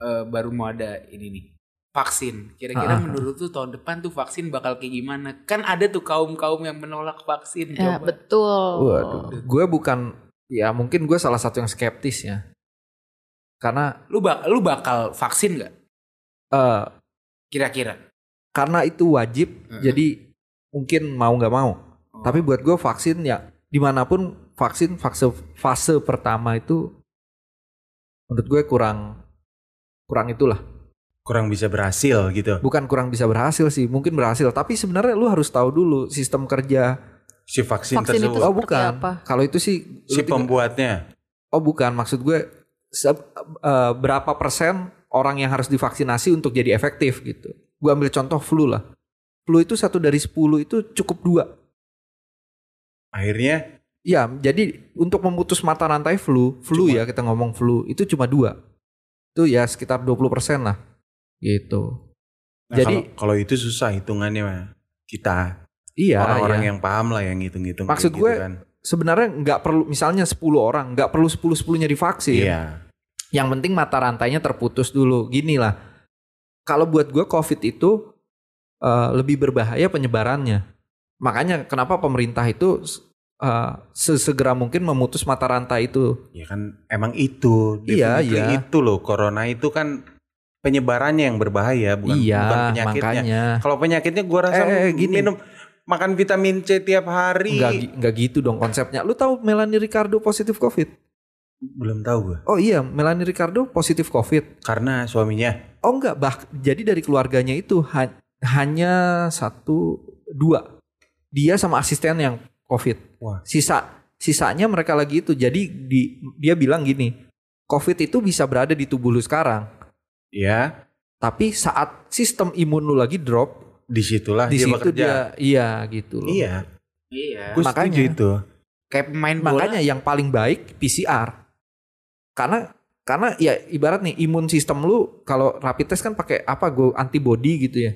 A: eh, baru mau ada ini nih vaksin. Kira-kira
B: Ah, ah,
A: menurut tuh tahun depan tuh vaksin bakal kayak gimana? Kan ada tuh kaum-kaum yang menolak vaksin.
D: Ya,
A: coba.
D: betul.
B: Waduh. Gue bukan ya mungkin gue salah satu yang skeptis ya. Karena
A: Lu bak lu bakal vaksin nggak?
B: eh
A: Kira-kira?
B: karena itu wajib
A: Mm-mm.
B: jadi mungkin mau nggak mau
A: Oh.
B: tapi buat gue vaksin ya dimanapun vaksin fase fase pertama itu menurut gue kurang kurang itulah
C: kurang bisa berhasil gitu
B: bukan kurang bisa berhasil sih mungkin berhasil tapi sebenarnya lu harus tahu dulu sistem kerja
C: si vaksin,
D: Vaksin itu
C: tersebut
B: oh
D: seperti
B: bukan
D: apa?
B: kalau itu sih lu
C: si
B: tidak-
C: pembuatnya
B: oh bukan maksud gue se- eh, berapa persen orang yang harus divaksinasi untuk jadi efektif gitu gue ambil contoh flu lah flu itu satu dari 10 itu cukup dua
C: akhirnya
B: Ya, jadi untuk memutus mata rantai flu, flu
C: Cuma-
B: ya kita ngomong flu, itu cuma dua. Itu ya sekitar 20% lah. Gitu.
C: nah,
B: Jadi-
C: kalau kalau itu susah hitungannya mah kita
B: Iya,
C: orang-orang
B: iya.
C: yang paham lah yang ngitung-ngitung kayak
B: Maksud
C: gitu
B: gue,
C: kan.
B: sebenarnya nggak perlu misalnya 10 orang, nggak perlu 10-10-nya divaksin.
C: iya
B: Yang penting mata rantainya terputus dulu. Gini lah. Kalau buat gue COVID itu eh, lebih berbahaya penyebarannya. Makanya kenapa pemerintah itu eh, sesegera mungkin memutus mata rantai itu
C: ya kan emang itu
B: Iya,
C: definitely
B: iya.
C: itu loh corona itu kan penyebarannya yang berbahaya bukan
B: iya,
C: bukan penyakitnya
B: makanya.
C: Kalau penyakitnya gua rasa
B: Eh, eh, gini.
C: minum makan vitamin C tiap hari.
B: Enggak, gi- enggak gitu dong konsepnya. Lu tahu Melanie Ricardo positif COVID?
C: Belum tahu gua.
B: Oh iya, Melanie Ricardo positif COVID.
C: Karena suaminya
B: Oh enggak, bah jadi dari keluarganya itu ha- hanya satu dua. Dia sama asisten yang COVID.
C: Wah.
B: Sisa sisanya mereka lagi itu. Jadi di, dia bilang gini, COVID itu bisa berada di tubuh lu sekarang,
C: ya
B: tapi saat sistem imun lu lagi drop,
C: disitulah Ah,
B: di
C: dia
B: situ
C: bekerja.
B: dia iya gitu loh.
C: Iya,
A: Iya.
C: gue
B: Makanya.
C: setuju itu.
A: Kayak pemain bola.
B: Makanya yang paling baik PCR. Karena karena ya ibarat nih imun sistem lu kalau rapid test kan pakai apa gue antibody gitu ya.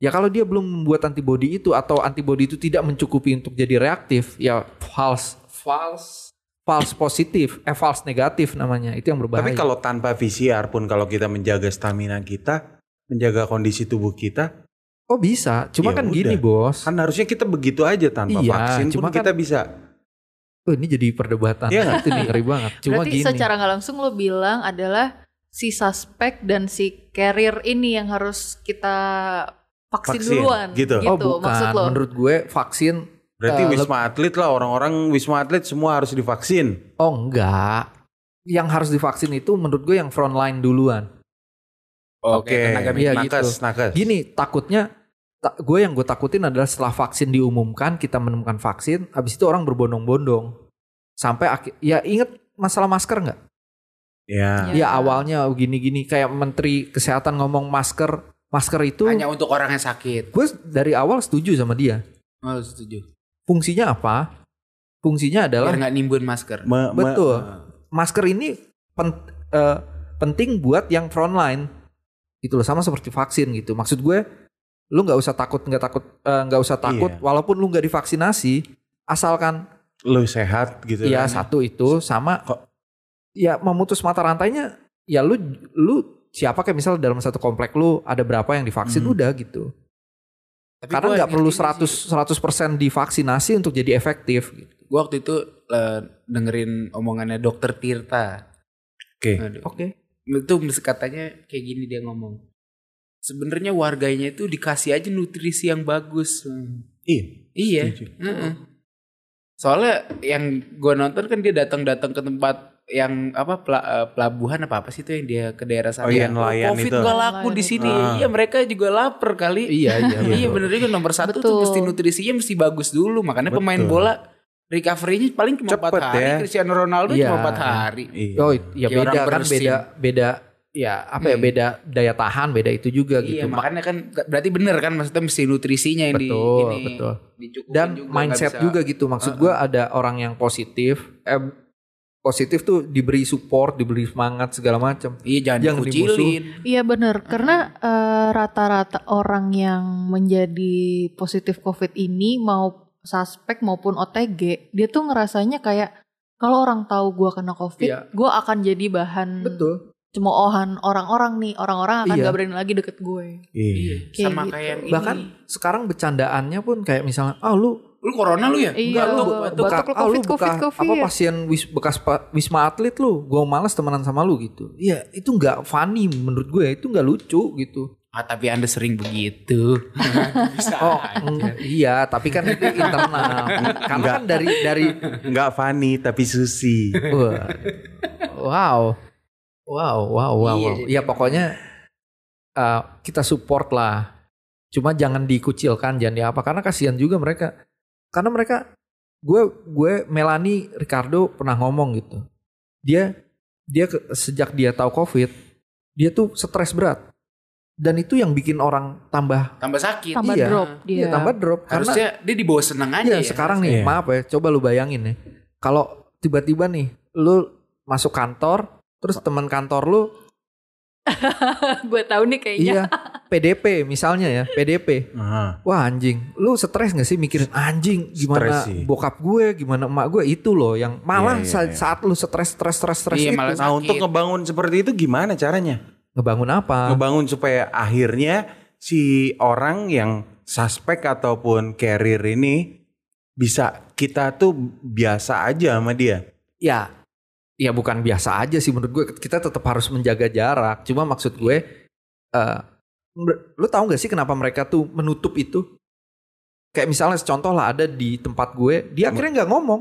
B: Ya kalau dia belum membuat antibody itu atau antibody itu tidak mencukupi untuk jadi reaktif, ya false false false positif, eh false negatif namanya. Itu yang berbahaya.
C: Tapi kalau tanpa PCR pun kalau kita menjaga stamina kita, menjaga kondisi tubuh kita,
B: oh bisa, cuma
C: Ya
B: kan
C: udah.
B: gini, Bos.
C: kan harusnya kita begitu aja tanpa
B: Iya,
C: vaksin pun
B: cuma kan-
C: kita bisa.
B: Oh, ini jadi perdebatan.
C: Iya nggak?
B: itu nih, ngeri banget. Cuma
D: Berarti
B: gini.
D: secara nggak langsung lo bilang adalah si suspek dan si carrier ini yang harus kita vaksin,
C: Vaksin,
D: duluan.
C: gitu.
B: oh, bukan.
D: maksud lo.
B: Menurut gue vaksin
C: Berarti
B: Eh, leb-
C: wisma atlet lah orang-orang wisma atlet semua harus divaksin.
B: Oh enggak. Yang harus divaksin itu menurut gue yang frontline duluan.
C: Oke,
A: tenaga
B: medis. Iya,
C: nakes, nakes.
B: Gini takutnya ta- gue yang gue takutin adalah setelah vaksin diumumkan kita menemukan vaksin, abis itu orang berbondong-bondong sampai akhir. Ya inget masalah masker nggak?
C: Ya,
B: Ya awalnya gini-gini kayak Menteri Kesehatan ngomong masker, masker itu
A: kan? Hanya untuk orang yang sakit.
B: gue dari awal setuju sama dia.
A: Oh, setuju.
B: Fungsinya apa? Fungsinya adalah
A: Biar nggak nimbun masker.
C: Me- me-
B: betul. masker ini pen- eh, penting buat yang frontline gitu loh sama seperti vaksin gitu maksud gue lu nggak usah takut nggak takut eh, nggak usah takut
C: Iya.
B: walaupun lu nggak divaksinasi asalkan
C: lu sehat gitu.
B: ya
C: kan.
B: satu itu sama
C: Kok-
B: ya memutus mata rantainya ya lu lu siapa kayak misal dalam satu komplek lu ada berapa yang divaksin
C: Hmm.
B: udah gitu
A: Tapi
B: karena
A: gua
B: nggak perlu
A: ngerti sih.
B: 100 100% divaksinasi untuk jadi efektif gitu.
A: Gue waktu itu eh, dengerin omongannya dokter Tirta.
C: Oke.
A: Aduh.
B: oke
A: itu mes- katanya kayak gini dia ngomong. Sebenarnya warganya itu dikasih aja nutrisi yang bagus. Hmm.
C: Iya.
A: Iya.
C: setuju.
A: Heeh. Soalnya yang gue nonton kan dia datang-datang ke tempat yang apa pela- eh, pelabuhan apa apa sih itu yang dia ke daerah sana.
C: Oh iya, nelayan
A: Covid
C: itu.
A: gak laku di sini.
C: Ah.
A: Iya mereka juga lapar kali.
B: Iya iya.
A: Iya
B: betul.
A: bener juga nomor satu tuh
D: Betul.
A: mesti nutrisinya mesti bagus dulu. Makanya pemain
C: Betul.
A: bola recovery-nya paling cuma empat
C: Cepet
A: hari.
C: ya.
A: Cristiano Ronaldo
B: Iya.
A: cuma empat hari.
C: Iya.
B: Oh ya
A: Kayak
B: beda
A: orang
B: kan
A: bersin.
B: beda beda ya apa ya
A: Hmm.
B: beda daya tahan beda itu juga
A: Iya
B: gitu. Mak-
A: makanya kan berarti bener kan maksudnya mesti nutrisinya yang di
B: Betul,
A: ini,
B: betul.
A: dicukupin
B: dan
A: juga, nggak
B: mindset
A: bisa-
B: juga gitu maksud gua ada orang yang positif eh, positif tuh diberi support diberi semangat segala macam
A: Iya jangan
B: Yang
A: dikucilin.
D: Iya bener, karena eh, rata-rata orang yang menjadi positif COVID ini mau suspek maupun OTG, dia tuh ngerasanya kayak kalau orang tahu gua kena COVID,
B: Iya.
D: gua akan jadi
A: Hmm.
D: bahan
B: betul
D: cemoohan orang-orang nih, orang-orang akan
B: Iya.
D: nggak berani lagi deket gue.
C: Iya.
D: Kayak
A: Sama
D: gitu.
A: kayak yang ini.
B: bahkan sekarang bercandaannya pun kayak misalnya ah lu
A: lu corona lu ya?
D: Iya,
A: lu
D: batuk,
A: batuk.
D: batuk. lu
B: ah, lu
D: covid, covid,
B: buka-
D: covid.
B: apa
A: iya."
B: pasien wis- bekas pa- wisma atlet lu gua males temenan sama lu gitu iya itu nggak funny menurut gue itu nggak lucu
A: (laughs)
B: gitu
A: Ah, tapi anda sering
D: (laughs)
A: begitu. bisa.
B: oh mm, iya tapi kan itu
A: (laughs)
B: internal karena kan dari dari
C: Enggak funny tapi susi.
B: Wah. Wow. Wow, wow, wow.
A: Iya,
B: wow.
A: jadi-
B: Ya pokoknya uh, kita support lah. Cuma jangan dikucilkan, jangan di apa karena kasihan juga mereka. Karena mereka gue gue Melani Ricardo pernah ngomong gitu. Dia dia ke- sejak dia tahu Covid, dia tuh stres berat. Dan itu yang bikin orang tambah
A: tambah sakit.
D: Tambah
B: Iya.
D: drop dia.
B: iya,
D: (laughs)
B: tambah drop karena
A: Harusnya dia dibawa seneng aja.
B: Iya
A: ya.
B: sekarang
C: harusnya.
B: nih
C: Iya.
B: maaf ya coba lu bayangin ya kalau tiba-tiba nih lu masuk kantor terus teman kantor lu
D: gue tahu nih kayaknya.
B: iya PDP misalnya ya PDP
C: Aha.
B: wah anjing lu stres gak sih mikirin anjing
C: Stres
B: gimana
C: sih.
B: bokap gue gimana emak gue itu loh yang
C: Iya,
B: malah
C: iya,
B: sa-
C: iya.
B: saat lu stres stres stres stres
A: Iya,
B: itu
A: malah
C: Nah, untuk
A: Sakit.
C: ngebangun seperti itu gimana caranya?
B: ngebangun apa
C: Ngebangun supaya akhirnya si orang yang suspek ataupun carrier ini bisa kita tuh biasa aja sama dia.
B: ya ya bukan biasa aja sih menurut gue kita tetap harus menjaga jarak cuma maksud gue eh lu tahu gak sih kenapa mereka tuh menutup itu kayak misalnya contoh lah ada di tempat gue dia akhirnya nggak ngomong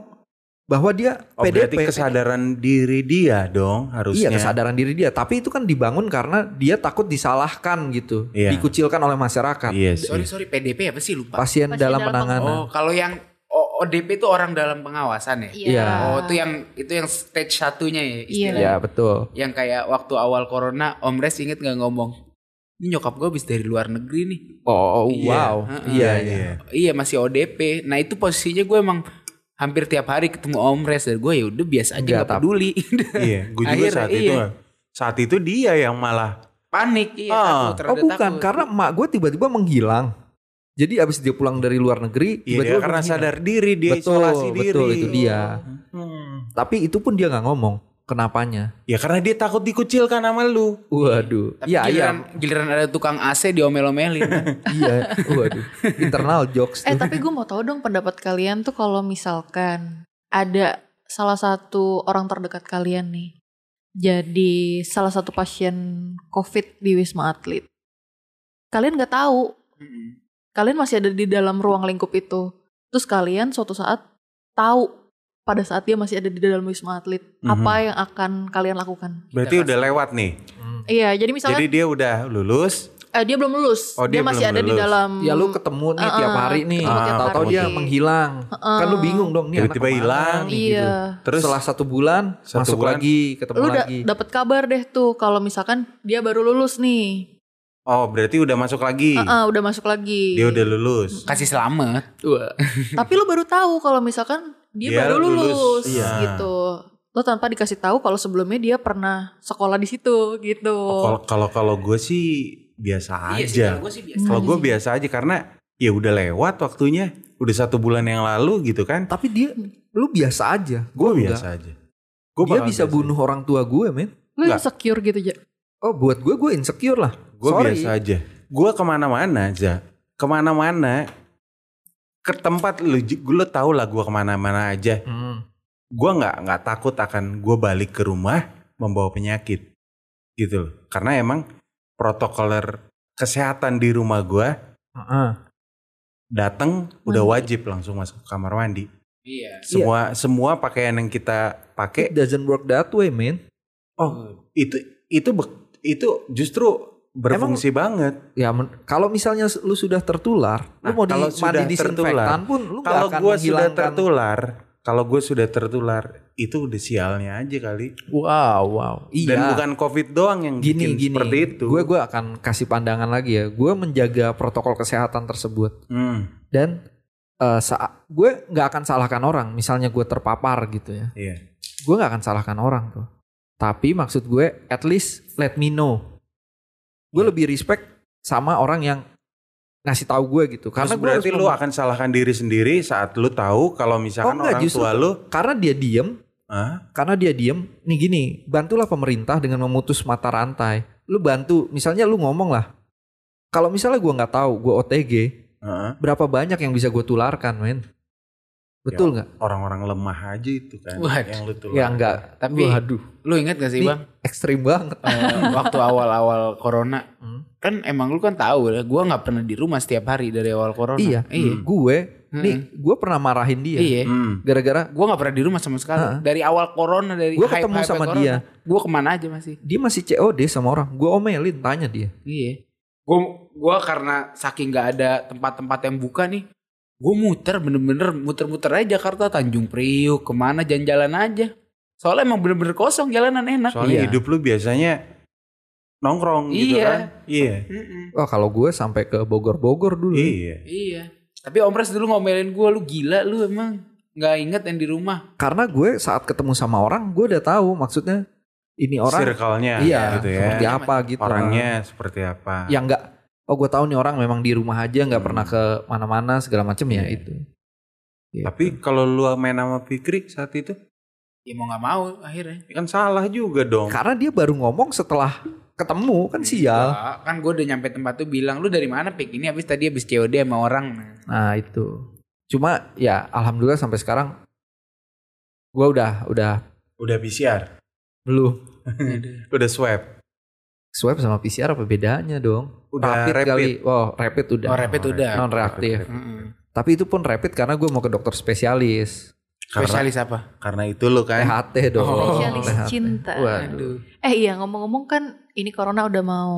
B: bahwa dia
C: Oh, berarti
B: PDP
C: kesadaran diri dia dong
B: iya
C: harusnya.
B: kesadaran diri dia tapi itu kan dibangun karena dia takut disalahkan gitu
C: Iya.
B: dikucilkan oleh masyarakat
C: Iya sih.
A: Sorry sorry PDP apa sih lupa?
B: pasien,
D: Pasien
B: dalam
D: dalam
B: penanganan
A: Oh kalau yang O- ODP itu orang dalam pengawasan ya.
B: Iya.
A: Oh itu yang itu yang stage satunya ya
D: Iya.
C: iya.
A: istilahnya.
B: ya betul
A: Yang kayak waktu awal corona Om Res inget nggak ngomong? Ini nyokap gue habis dari luar negeri nih.
B: oh
C: Iya.
B: wow iya iya
A: Iya masih ODP. Nah itu posisinya gue emang hampir tiap hari ketemu Om Res dan gue ya udah biasa aja
B: Nggak,
A: nggak
B: tapi-
A: peduli. (laughs)
B: (laughs)
C: Iya, gue juga
A: Akhirnya,
C: saat
A: iya.
C: itu saat itu dia yang malah
A: Panik iya.
C: Ah.
A: takut, rada
B: Oh bukan,
A: takut.
B: karena emak gue tiba-tiba menghilang. Jadi abis dia pulang dari luar negeri,
C: iya dia
B: tiba-tiba
C: karena
B: menghilang.
C: sadar diri dia
B: betul,
C: isolasi diri.
B: Betul, itu dia.
C: Hmm.
B: Tapi itu pun dia nggak ngomong kenapanya.
C: Ya karena dia takut dikucilkan sama lu.
B: Waduh,
A: Tapi
B: iya iya
A: giliran, giliran ada tukang AC
B: (laughs)
A: diomel-omelin. kan.
B: iya, waduh, internal jokes
D: Eh
B: tuh.
D: tapi gue mau tahu dong pendapat kalian tuh kalau misalkan ada salah satu orang terdekat kalian nih jadi salah satu pasien COVID di Wisma Atlet. Kalian nggak tahu,
A: Hmm.
D: kalian masih ada di dalam ruang lingkup itu. Terus kalian suatu saat tahu pada saat dia masih ada di dalam Wisma Atlet,
C: Mhm.
D: apa yang akan kalian lakukan?
C: Berarti
B: Iya,
A: Kita
C: udah lewat nih.
B: Hmm.
D: Iya, jadi misalnya
C: Jadi dia udah lulus.
D: eh, dia belum lulus,
C: Oh, dia
D: dia, masih
C: belum
D: ada di
C: lulus.
D: dalam
B: Ya lu ketemu nih
D: Uh-uh,
B: tiap hari nih,
D: ketemu
C: tiap
B: tahu-tahu
C: hari.
B: dia menghilang. Kan lu bingung dong nih anak
C: Tiba-tiba
B: kemana
C: hilang.
B: nih, gitu.
D: Iya.
C: Terus
B: Setelah satu bulan
C: Satu
B: masuk
C: bulan.
B: lagi, ketemu
D: lu da-
B: lagi.
D: dapet kabar deh tuh kalau misalkan dia baru lulus nih
C: oh berarti udah masuk lagi.
D: Heeh, udah masuk lagi
C: Dia udah lulus.
A: Kasih selamat.
B: Wah.
D: tapi lu baru tahu kalau misalkan dia,
C: Dia
D: baru
C: lulus.
D: lulus,
C: Iya.
D: gitu lo tanpa dikasih tahu kalau sebelumnya dia pernah sekolah di situ gitu
C: Kalau Oh, kalau kalau gue sih biasa
A: Iya sih,
C: aja.
A: kalau gue sih biasa.
C: Kalau
D: aja
C: gue
D: sih.
C: biasa aja karena ya udah lewat waktunya. Udah satu bulan yang lalu gitu kan.
B: Tapi dia, lu biasa aja.
C: Gue
B: enggak.
C: biasa aja. Gua
B: dia
C: bakal
B: bisa
C: biasa.
B: bunuh orang tua gue, men.
D: lu
C: Enggak.
D: insecure gitu aja
B: Oh buat gue gue insecure lah.
C: Gue
B: Sorry.
C: biasa aja. Gue kemana-mana aja. Kemana-mana. Ke tempat lu, lu tau lah gue kemana-mana aja.
B: Hmm.
C: gue nggak nggak takut akan gue balik ke rumah membawa penyakit gitu loh. Karena emang protokoler kesehatan di rumah gua
B: Heeh.
C: datang udah
D: Mandi.
C: wajib langsung masuk ke kamar mandi.
A: Iya.
C: Semua semua pakaian yang kita
B: It
C: pakai
B: doesn't work that way, man.
A: Oh,
C: itu itu bek- itu justru berfungsi banget.
B: Ya, men- kalau misalnya lu sudah tertular,
C: Nah,
B: lu mau di,
C: kalau
B: mandi
C: sudah
B: disinfektan pun lu nggak
C: Kalau
B: akan
C: gua sudah
B: menghilangkan-
C: tertular, kalau gue sudah tertular itu udah sialnya aja kali.
B: Wow, wow. Iya.
C: Dan bukan covid doang yang bikin
B: gini gini.
C: seperti itu.
B: Gue gue akan kasih pandangan lagi ya. Gue menjaga protokol kesehatan tersebut.
C: Hmm,
B: dan eh, sa- gue nggak akan salahkan orang misalnya gue terpapar gitu ya
C: iya.
B: gue nggak akan salahkan orang tuh tapi maksud gue at least let me know gue lebih respect sama orang yang ngasih tahu gue gitu
C: Karena
B: karena gue
C: berarti
B: harus
C: lu
B: ngomong-
C: akan salahkan diri sendiri saat lu tahu kalau misalkan
B: Oh, enggak,
C: orang
B: justru-
C: tua lu
B: karena dia diem
C: Hah?
B: karena dia diem nih gini bantulah pemerintah dengan memutus mata rantai lu bantu misalnya lu ngomong lah kalau misalnya gue nggak tahu gue OTG
C: Heeh.
B: berapa banyak yang bisa gue tularkan men betul nggak
C: orang-orang lemah aja itu kan
A: Waduh.
C: yang lu tuh.
B: ya nggak
A: tapi
B: Waduh,
A: lu ingat gak sih,
B: Nih.
A: Bang?
B: ekstrim banget.
A: Eh, waktu awal-awal corona
B: Hmm.
A: kan emang lu kan tahu lah gua nggak pernah di rumah setiap hari dari awal corona.
B: Iya,
A: Iya.
B: gue
A: Mm-mm.
B: nih gue pernah marahin dia
A: Hmm. Iya.
C: Hmm.
B: gara-gara
A: Gue gak pernah di rumah sama sekali.
B: Heeh.
A: Dari awal corona dari
B: Gua ketemu sama dia.
A: Gue kemana aja masih.
B: dia masih COD sama orang. Gue omelin tanya dia.
A: Iya. Gue gua karena saking gak ada tempat-tempat yang buka nih. Gue muter bener-bener muter-muter aja Jakarta Tanjung Priuk kemana jalan-jalan aja. Soalnya emang bener-bener kosong jalanan enak.
C: Soalnya
B: Iya.
C: hidup lu biasanya nongkrong gitu
A: Iya.
C: kan. Iya.
A: Mm-mm.
B: Wah Oh, kalau gue sampai ke Bogor-Bogor dulu.
C: Iya.
A: Iya. Tapi Om Pres dulu ngomelin gue lu gila lu emang nggak inget yang di rumah.
B: Karena gue saat ketemu sama orang gue udah tahu maksudnya ini orang
C: Circle-nya
B: iya
C: gitu ya.
B: seperti apa gitu.
C: Orangnya seperti apa?
B: yang nggak oh gue tahu nih orang memang di rumah aja nggak
C: Hmm.
B: pernah ke mana-mana segala macem
C: Iya.
B: ya itu. Gitu.
C: Tapi kalau lu main sama Fikri saat itu
A: Ya mau nggak mau akhirnya.
C: kan salah juga dong.
B: karena dia baru ngomong setelah ketemu
C: Iya.
B: kan sial.
A: Nggak, Kan gue udah nyampe tempat tuh bilang lu dari mana pik ini habis tadi habis COD sama orang. Nah,
B: Nah itu. Cuma ya alhamdulillah sampai sekarang gue udah udah
C: Udah PCR,
B: belum
C: udah swab,
B: swab sama PCR apa bedanya dong?
C: udah rapid.
B: kali. Oh rapid udah.
A: Oh, rapid udah.
B: Non reaktif.
A: Mm-mm.
B: Tapi itu pun rapid karena gue mau ke dokter spesialis
C: Karena,
A: Spesialis apa?
C: karena itu lu kan.
B: THT dong.
A: Oh.
D: Spesialis
B: THT.
D: cinta.
B: Waduh.
D: Eh iya ngomong-ngomong kan ini corona udah mau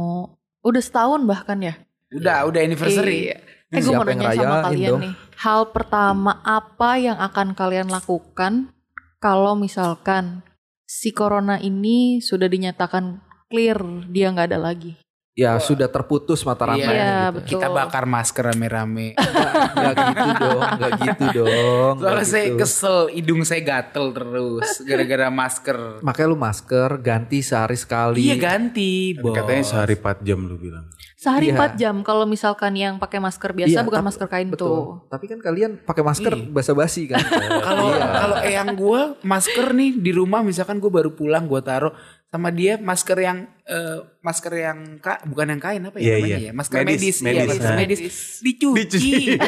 D: udah setahun bahkan ya.
A: Udah, udah anniversary.
D: Iya. Eh gue
B: Siapa
D: mau
B: yang
D: nanya sama
B: ngerayain
D: kalian
B: dong?
D: nih. Hal pertama apa yang akan kalian lakukan kalau misalkan si corona ini sudah dinyatakan clear dia nggak ada lagi?
B: Ya sudah terputus
A: Iya,
B: mata rantainya
D: Iya,
B: gitu.
D: betul.
A: Kita bakar masker (laughs) rame-rame.
B: Gak gitu dong, gak gitu dong. nggak
A: Soalnya saya
B: gitu.
A: kesel, hidung saya gatel terus gara-gara masker.
B: Makanya lu masker ganti sehari sekali.
A: Iya ganti, bos.
C: Kan Katanya sehari 4 jam lu bilang.
D: Sehari
B: Iya.
D: 4 jam kalau misalkan yang pakai masker biasa
B: Iya,
D: bukan
B: tapi-
D: masker kain
B: Betul.
D: tuh.
B: Tapi kan kalian pakai masker
A: Iya.
B: basa-basi kan.
A: Kalau
B: Iya.
A: kalau eyang gue masker nih di rumah misalkan gue baru pulang gue taruh sama dia masker yang eh, masker yang kak bukan yang kain apa
C: Iya,
A: ya namanya
C: iya.
A: ya masker
C: Medis,
A: medis, iya,
C: medis,
A: masker
C: nah.
A: medis, dicuci, (laughs)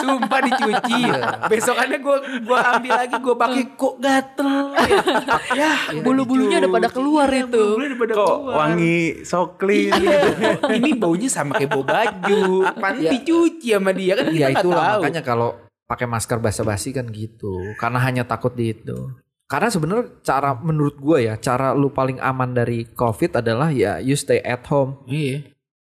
A: sumpah dicuci besokannya gue gua ambil lagi gue pakai kok (laughs) gatel ya, ya
D: Bulu-bulunya udah pada
A: dicuci.
D: keluar
A: Iya,
D: itu.
A: bulu-bulunya udah pada
C: Kok
A: keluar.
C: wangi sokli
A: Iya. ini baunya sama kayak bau baju pan
B: Iya.
A: dicuci sama dia kan kita
B: ya
A: nggak
B: itulah
A: tahu
B: makanya kalau pakai masker basa-basi kan gitu karena hanya takut di itu karena sebenarnya cara menurut gue ya cara lu paling aman dari covid adalah ya you stay at home
A: iya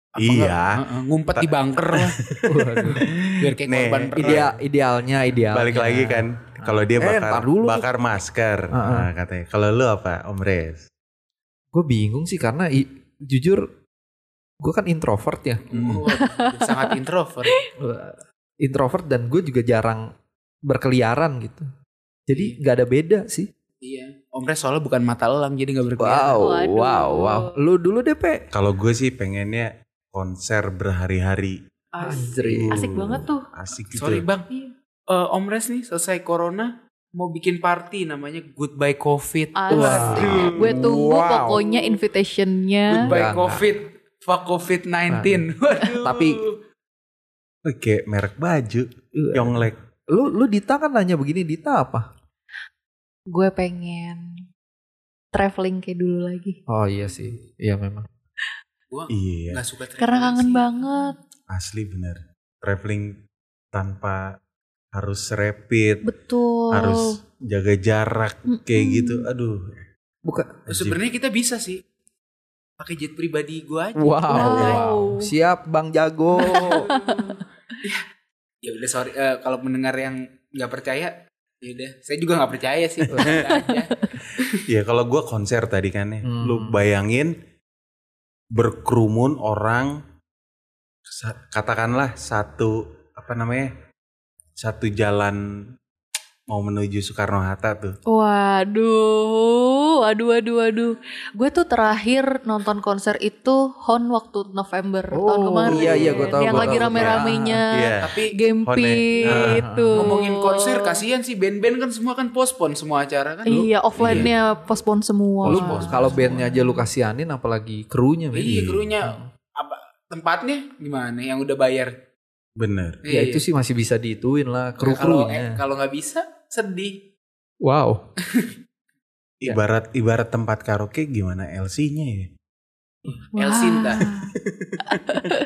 A: Apa
C: Iya.
A: nggak, uh-uh, ngumpet di bunker lah
B: (laughs) Waduh.
A: biar kayak
C: Nih,
A: korban perang.
B: ideal idealnya ideal
C: Balik lagi kan kalau dia
B: Eh,
C: bakar
B: ntar dulu.
C: bakar masker
B: Heeh.
C: nah, katanya. Kalau lu apa? Om Res.
B: gue bingung sih karena i- jujur gue kan introvert ya
A: Waduh, Oh, sangat introvert
B: introvert dan gue juga jarang berkeliaran gitu jadi nggak ada beda sih
A: iya om Res soalnya bukan mata elang jadi nggak berkelihatan
B: wow
D: Waduh.
B: wow wow lu dulu deh pe
C: Kalau gue sih pengennya konser berhari-hari.
B: Anjir.
D: Asik banget tuh.
C: Asik gitu.
A: sorry bang Eh, om Res nih selesai corona mau bikin party namanya goodbye covid
D: Asik.
B: Waduh.
D: Gue tunggu
B: Wow.
D: pokoknya invitationnya.
A: goodbye
B: Enggak,
A: covid fuck covid 19 waduh
B: Tapi-
C: Oke, merek baju Yonglek.
B: lu lu Dita kan nanya begini Dita apa
D: Gue pengen traveling kayak dulu lagi.
B: Oh iya sih. Iya memang.
A: Gua
C: Iya,
A: nggak suka traveling
D: Karena kangen
A: sih.
D: banget.
C: asli bener. Traveling tanpa harus rapid,
D: Betul.
C: harus jaga jarak kayak
D: Mm-mm.
C: gitu. Aduh.
B: Buka.
A: Terus Sebenarnya kita bisa sih pakai jet pribadi gua aja.
B: Wow.
D: Wow.
B: Siap Bang Jago.
A: (laughs) Ya udah sorry eh, kalau mendengar yang nggak percaya, ya udah saya juga nggak percaya sih. Udah aja.
C: Ya kalau gua konser tadi kan ya,
B: Hmm.
C: lu bayangin berkerumun orang sa- katakanlah satu apa namanya? Satu jalan mau menuju Soekarno Hatta tuh.
D: Waduh, waduh, waduh, waduh. Gue tuh terakhir nonton konser itu Hon waktu November
B: Oh,
D: tahun kemarin.
B: iya, iya, gua tahu,
D: Yang
B: gua
D: lagi
B: tahu.
D: rame-ramenya.
C: Iya.
A: Tapi
D: Gempi
C: Hon, ya.
D: itu.
A: ngomongin konser kasihan sih band-band kan semua kan postpone semua acara kan.
D: Iya, offline-nya postpone semua.
B: Lu
A: Wow.
B: kalau bandnya aja lu kasihanin apalagi krunya. men.
A: Iya, krunya apa tempatnya gimana yang udah bayar?
C: Bener.
B: Ya
A: Iya.
B: itu sih masih bisa diituin lah kru
A: kalau eh,
B: krunya.
A: kalau nggak bisa sedih.
B: Wow.
A: Iya.
C: Ibarat ibarat tempat karaoke gimana LC-nya ya?
D: Wah.
A: Elsinta.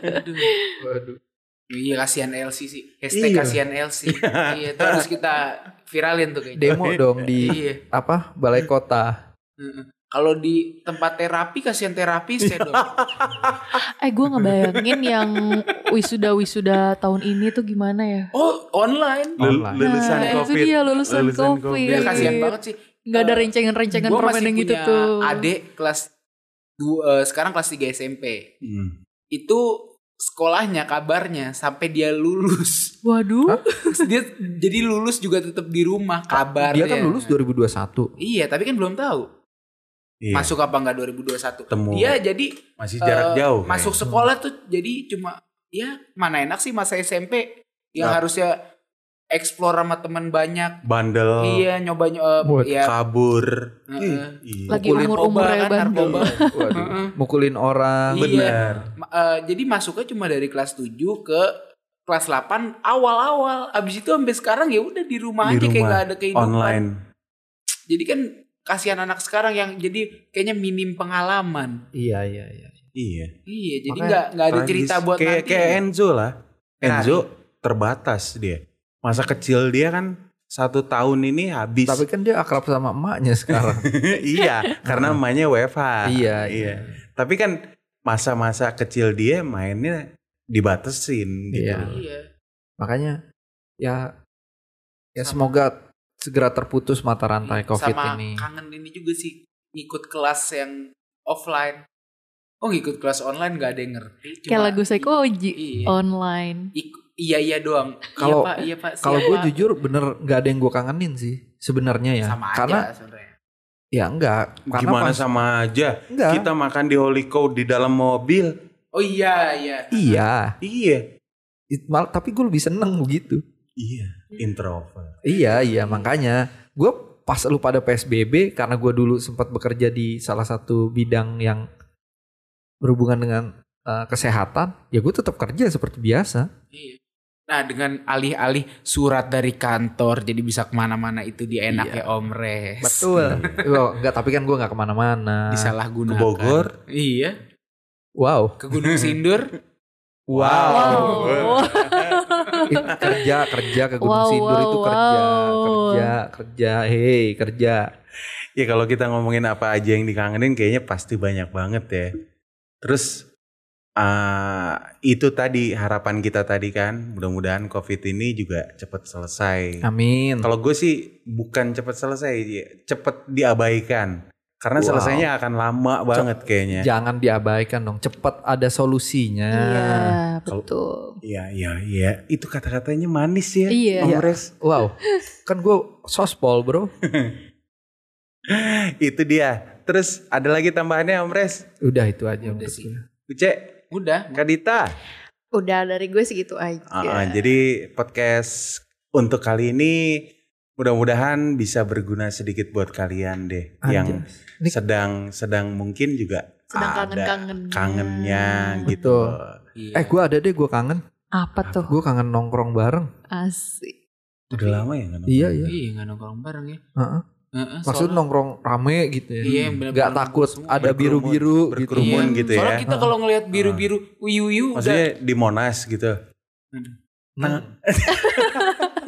D: Aduh.
B: Waduh.
A: Iya kasihan LC sih. Hashtag
C: Iya.
A: kasihan LC. iya, itu harus kita viralin tuh kayaknya.
B: Demo dong di
A: Iya.
B: apa balai kota.
A: Heeh. Kalau di tempat terapi kasihan terapis ya dong.
D: eh, gue ngebayangin yang wisuda-wisuda tahun ini tuh gimana ya?
A: Oh, online.
C: Lul-
B: Online.
C: lulusan
D: Nah, itu
C: COVID.
D: dia lulusan,
C: Lulusan
D: COVID.
C: Covid.
B: Iya.
A: Ya kasihan banget sih.
D: Nggak ada
A: Eh,
D: rencengan-rencengan
A: Gua
D: permen
A: masih
D: yang gitu
A: punya
D: tuh.
A: adik kelas dua, eh, sekarang kelas 3 SMP.
C: Hmm.
A: Itu sekolahnya kabarnya sampai dia lulus. (laughs)
D: Waduh.
A: Terus dia jadi lulus juga tetap di rumah kabar.
B: Dia kan lulus 2021.
A: Iya, tapi kan belum tahu
C: Iya.
A: masuk apa enggak 2021.
C: Temu.
A: Dia jadi
C: masih jarak
A: Eh,
C: jauh.
A: masuk
C: kayaknya.
A: sekolah tuh jadi cuma ya mana enak sih masa SMP yang
C: Nah.
A: harusnya Ya, explore sama teman banyak
C: bandel,
A: iya nyoba nyoba
B: Oh. Buat
A: ya
C: kabur.
A: Heeh.
C: Ih, iya.
D: Lagi
B: Mukulin
D: umur-umurnya
A: narkoba kan,
D: bandel.
A: narkoba.
B: Waduh.
A: Heeh.
B: Mukulin orang.
A: Iya.
C: Bener.
A: Ma- eh, jadi masuknya cuma dari kelas 7 ke kelas 8 awal-awal abis itu sampai sekarang ya udah di rumah aja
C: Di
A: kayak
C: rumah,
A: nggak ada kehidupan
C: Online.
A: jadi kan kasihan anak sekarang yang jadi kayaknya minim pengalaman
B: Iya iya iya.
C: Iya.
A: iya jadi
B: Makanya
A: nggak nggak ada
C: Tragis.
A: cerita buat
C: kayak,
A: nanti
C: kayak Enzo lah.
A: Ferrari.
C: Enzo terbatas dia. Masa kecil dia kan satu tahun ini habis.
B: Tapi kan dia akrab sama emaknya (laughs) sekarang.
C: (laughs) iya, karena emaknya WFH.
B: iya
C: iya. Tapi kan masa-masa kecil dia mainnya dibatesin gitu.
B: Iya.
A: iya
B: Makanya ya ya
A: Sama-
B: semoga segera terputus mata rantai Covid
A: Iya, sama
B: ini.
A: kangen ini juga sih ngikut kelas yang offline oh ngikut kelas online nggak ada yang ngerti cuma-
D: Kayak lagu Oh. Sekoji
A: iya
D: online.
A: Ik- iya iya doang
B: Kalau-
A: iya pak iya pak
B: Kalau gue
A: siapa?
B: jujur bener nggak ada yang gue kangenin sih sebenarnya ya.
A: sama
B: Karena
A: aja sebenarnya
B: ya enggak. Karena
C: Gimana
B: pas- Iya.
C: sama aja
B: enggak.
C: kita makan di Holico di dalam mobil.
A: oh iya iya
B: Iya.
C: Iya.
B: It- mal- tapi gue lebih seneng begitu.
C: Iya, introvert.
B: Iya iya makanya gue pas lu pada PSBB karena gue dulu sempat bekerja di salah satu bidang yang berhubungan dengan eh, kesehatan ya gue tetap kerja seperti biasa.
A: Iya. nah dengan alih-alih surat dari kantor jadi bisa kemana-mana itu dia
B: Iya.
A: ya, enaknya om res
B: Loh, enggak tapi kan gue nggak kemana-mana.
A: disalahgunakan
C: Ke Bogor?
A: iya
B: Wow.
A: ke
B: (laughs)
A: Gunung Sindur
D: Wow.
B: It- Iya,
D: Iya,
B: kerja kerja ke Gunung
D: Wow,
B: Sindur itu
D: wow,
B: kerja
D: wow.
B: kerja kerja hei kerja
C: Ya kalau kita ngomongin apa aja yang dikangenin kayaknya pasti banyak banget ya. Terus eh, itu tadi harapan kita tadi kan, mudah-mudahan Covid ini juga cepat selesai.
B: amin
C: Kalau gue sih bukan cepat selesai, ya, cepat diabaikan. Karena
B: Wow.
C: selesainya akan lama banget kayaknya.
B: jangan diabaikan dong cepat ada solusinya
D: Iya,
C: Kalau-
D: betul.
C: Iya, iya, iya. Itu kata-katanya manis ya.
D: Iya.
C: Om Res.
B: wow kan gue sospol bro
C: Itu dia. Terus ada lagi tambahannya Om Res.
B: udah itu aja
A: Udah
B: menurut
A: sih.
B: gue.
C: Uce,
A: udah
C: Kak Dita.
D: Udah dari gue segitu aja.
B: Iya.
C: Ah, Jadi podcast untuk kali ini mudah-mudahan bisa berguna sedikit buat kalian deh
B: Anjas.
C: yang
B: Ini-
C: sedang sedang mungkin juga
D: sedang
C: ada
D: kangen-kangen.
C: kangennya gitu.
B: Iya, Betul.
A: Iya.
B: eh gue ada deh gue kangen
D: Apa tuh?
B: gue kangen nongkrong bareng
D: Asik.
C: Udah lama ya nggak nongkrong?
B: iya iya
A: Iya nggak nongkrong bareng ya.
B: Heeh.
A: Heeh,
B: Maksud
A: soalnya-
B: nongkrong rame gitu ya.
A: Iya, yang benar-benar
B: Nggak takut
A: semua.
B: ada biru-biru gitu.
A: Iya.
C: berkerumun gitu
A: Soalnya
C: ya.
A: kita kalau ngelihat biru-biru uyu-uyu udah,
C: Maksudnya di Monas gitu.
B: Hmm,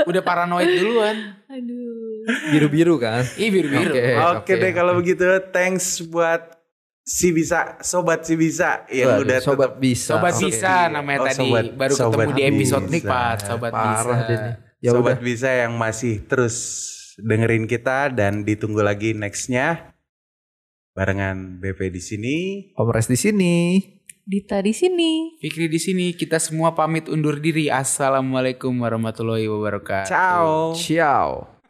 A: udah paranoid duluan.
D: Aduh.
B: Biru-biru kan.
A: Ih biru-biru.
B: Oke.
C: Oke
B: oke.
C: deh kalau begitu thanks buat si bisa sobat si bisa yang
B: Waduh,
C: Iya, udah
B: sobat
C: tetap-
B: bisa.
A: Sobat
B: oke.
A: bisa namanya
C: Oh,
A: tadi
C: sobat-
A: baru ketemu
C: sobat
A: di episode
C: bisa.
A: nikmat sobat
B: Parah
A: bisa.
B: deh nih. Ya
C: sobat
B: udah.
C: bisa yang masih terus dengerin kita dan ditunggu lagi nextnya barengan BP di sini.
B: Om Res di sini.
D: Dita di sini.
A: Fikri di sini kita semua pamit undur diri. Assalamualaikum warahmatullahi wabarakatuh.
C: Ciao.
B: Ciao.